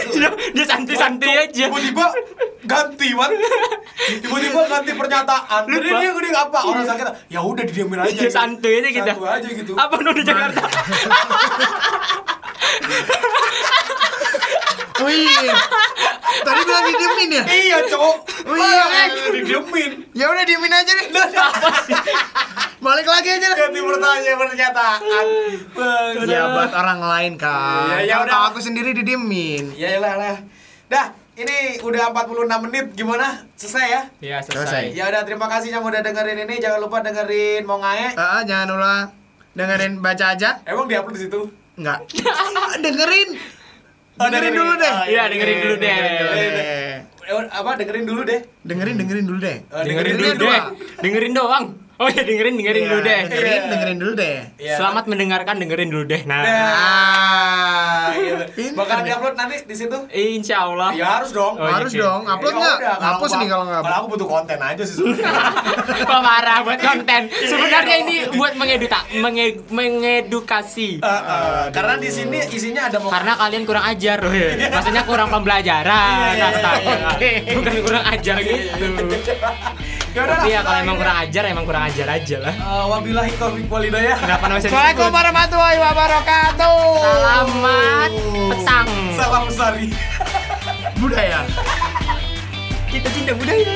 [SPEAKER 3] Dia santai-santai aja.
[SPEAKER 4] Tiba-tiba ganti, Wan. Tiba-tiba ganti pernyataan. Jadi
[SPEAKER 3] Lupa.
[SPEAKER 4] dia gini apa? Orang sakit. Ya udah didiemin aja. gitu.
[SPEAKER 3] Dia santai aja kita.
[SPEAKER 4] Santuy aja gitu.
[SPEAKER 3] Apa di Jakarta?
[SPEAKER 5] Wih. Tadi bilang didiemin ya?
[SPEAKER 4] Iya, kan? Iya. cowok.
[SPEAKER 5] Oh, iya,
[SPEAKER 4] Orang
[SPEAKER 5] Wan.
[SPEAKER 4] didiemin.
[SPEAKER 5] Ya udah diemin aja deh.
[SPEAKER 4] Nah.
[SPEAKER 5] Balik lagi aja deh.
[SPEAKER 4] Ganti pertanyaan pernyataan. Bang.
[SPEAKER 5] Ya buat orang lain kan.
[SPEAKER 4] Iya, ya
[SPEAKER 5] Kalau
[SPEAKER 4] udah.
[SPEAKER 5] aku sendiri didiemin.
[SPEAKER 4] Ya lah lah. Dah, ini udah 46 menit gimana? Selesai ya?
[SPEAKER 3] Iya
[SPEAKER 5] Selesai.
[SPEAKER 3] selesai.
[SPEAKER 4] Ya udah terima kasih yang udah dengerin ini. Jangan lupa dengerin mau ngae.
[SPEAKER 5] Ah, ah, jangan ulang. Dengerin baca aja.
[SPEAKER 4] Emang diupload di situ?
[SPEAKER 5] Enggak. dengerin.
[SPEAKER 4] Oh,
[SPEAKER 5] dengerin dulu deh.
[SPEAKER 3] Iya dengerin dulu deh. Iya,
[SPEAKER 5] Eh,
[SPEAKER 4] Eh, apa dengerin dulu deh.
[SPEAKER 5] Dengerin dengerin dulu deh.
[SPEAKER 4] Eh,
[SPEAKER 3] Hmm. Dengerin dulu
[SPEAKER 5] Dengerin
[SPEAKER 3] deh.
[SPEAKER 5] doang.
[SPEAKER 3] Dengerin doang. Oh iya dengerin dengerin
[SPEAKER 5] Iya,
[SPEAKER 3] dulu deh.
[SPEAKER 5] Dengerin
[SPEAKER 4] Iya.
[SPEAKER 5] dengerin dulu deh.
[SPEAKER 4] Iya.
[SPEAKER 3] Selamat mendengarkan dengerin dulu deh. Nah. Ah,
[SPEAKER 4] Nah, gitu.
[SPEAKER 3] iya.
[SPEAKER 5] Pinter
[SPEAKER 4] Bakal
[SPEAKER 5] nih.
[SPEAKER 4] diupload nanti di situ.
[SPEAKER 3] eh, Insya Allah.
[SPEAKER 4] Ya harus dong.
[SPEAKER 3] Oh, iya,
[SPEAKER 5] Harus
[SPEAKER 3] oke.
[SPEAKER 5] dong.
[SPEAKER 4] Ya,
[SPEAKER 5] Upload
[SPEAKER 4] ya
[SPEAKER 5] nggak?
[SPEAKER 4] udah, kalau
[SPEAKER 5] Hapus
[SPEAKER 4] gua-
[SPEAKER 5] nih kalau nggak.
[SPEAKER 4] Kalau aku butuh konten aja sih. sebenarnya.
[SPEAKER 3] Pemarah buat konten. Sebenarnya ini buat mengeduta, menge- mengedukasi.
[SPEAKER 4] Eh, eh, Karena di sini isinya ada mau
[SPEAKER 3] Karena kalian kurang ajar, maksudnya kurang pembelajaran,
[SPEAKER 4] Iya, iya,
[SPEAKER 3] astaga.
[SPEAKER 4] iya.
[SPEAKER 3] Oke. bukan kurang ajar gitu.
[SPEAKER 4] Ya udah.
[SPEAKER 3] Tapi ya kalau emang
[SPEAKER 4] ini.
[SPEAKER 3] kurang ajar, emang kurang ajar aja lah.
[SPEAKER 4] Eh, wabillahi taufiq walhidayah.
[SPEAKER 3] Kenapa namanya
[SPEAKER 5] Assalamualaikum warahmatullahi wabarakatuh.
[SPEAKER 3] Selamat petang.
[SPEAKER 4] Salam sari.
[SPEAKER 5] budaya.
[SPEAKER 3] Kita cinta budaya.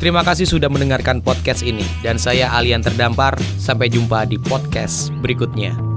[SPEAKER 1] Terima kasih sudah mendengarkan podcast ini dan saya Alian Terdampar. Sampai jumpa di podcast berikutnya.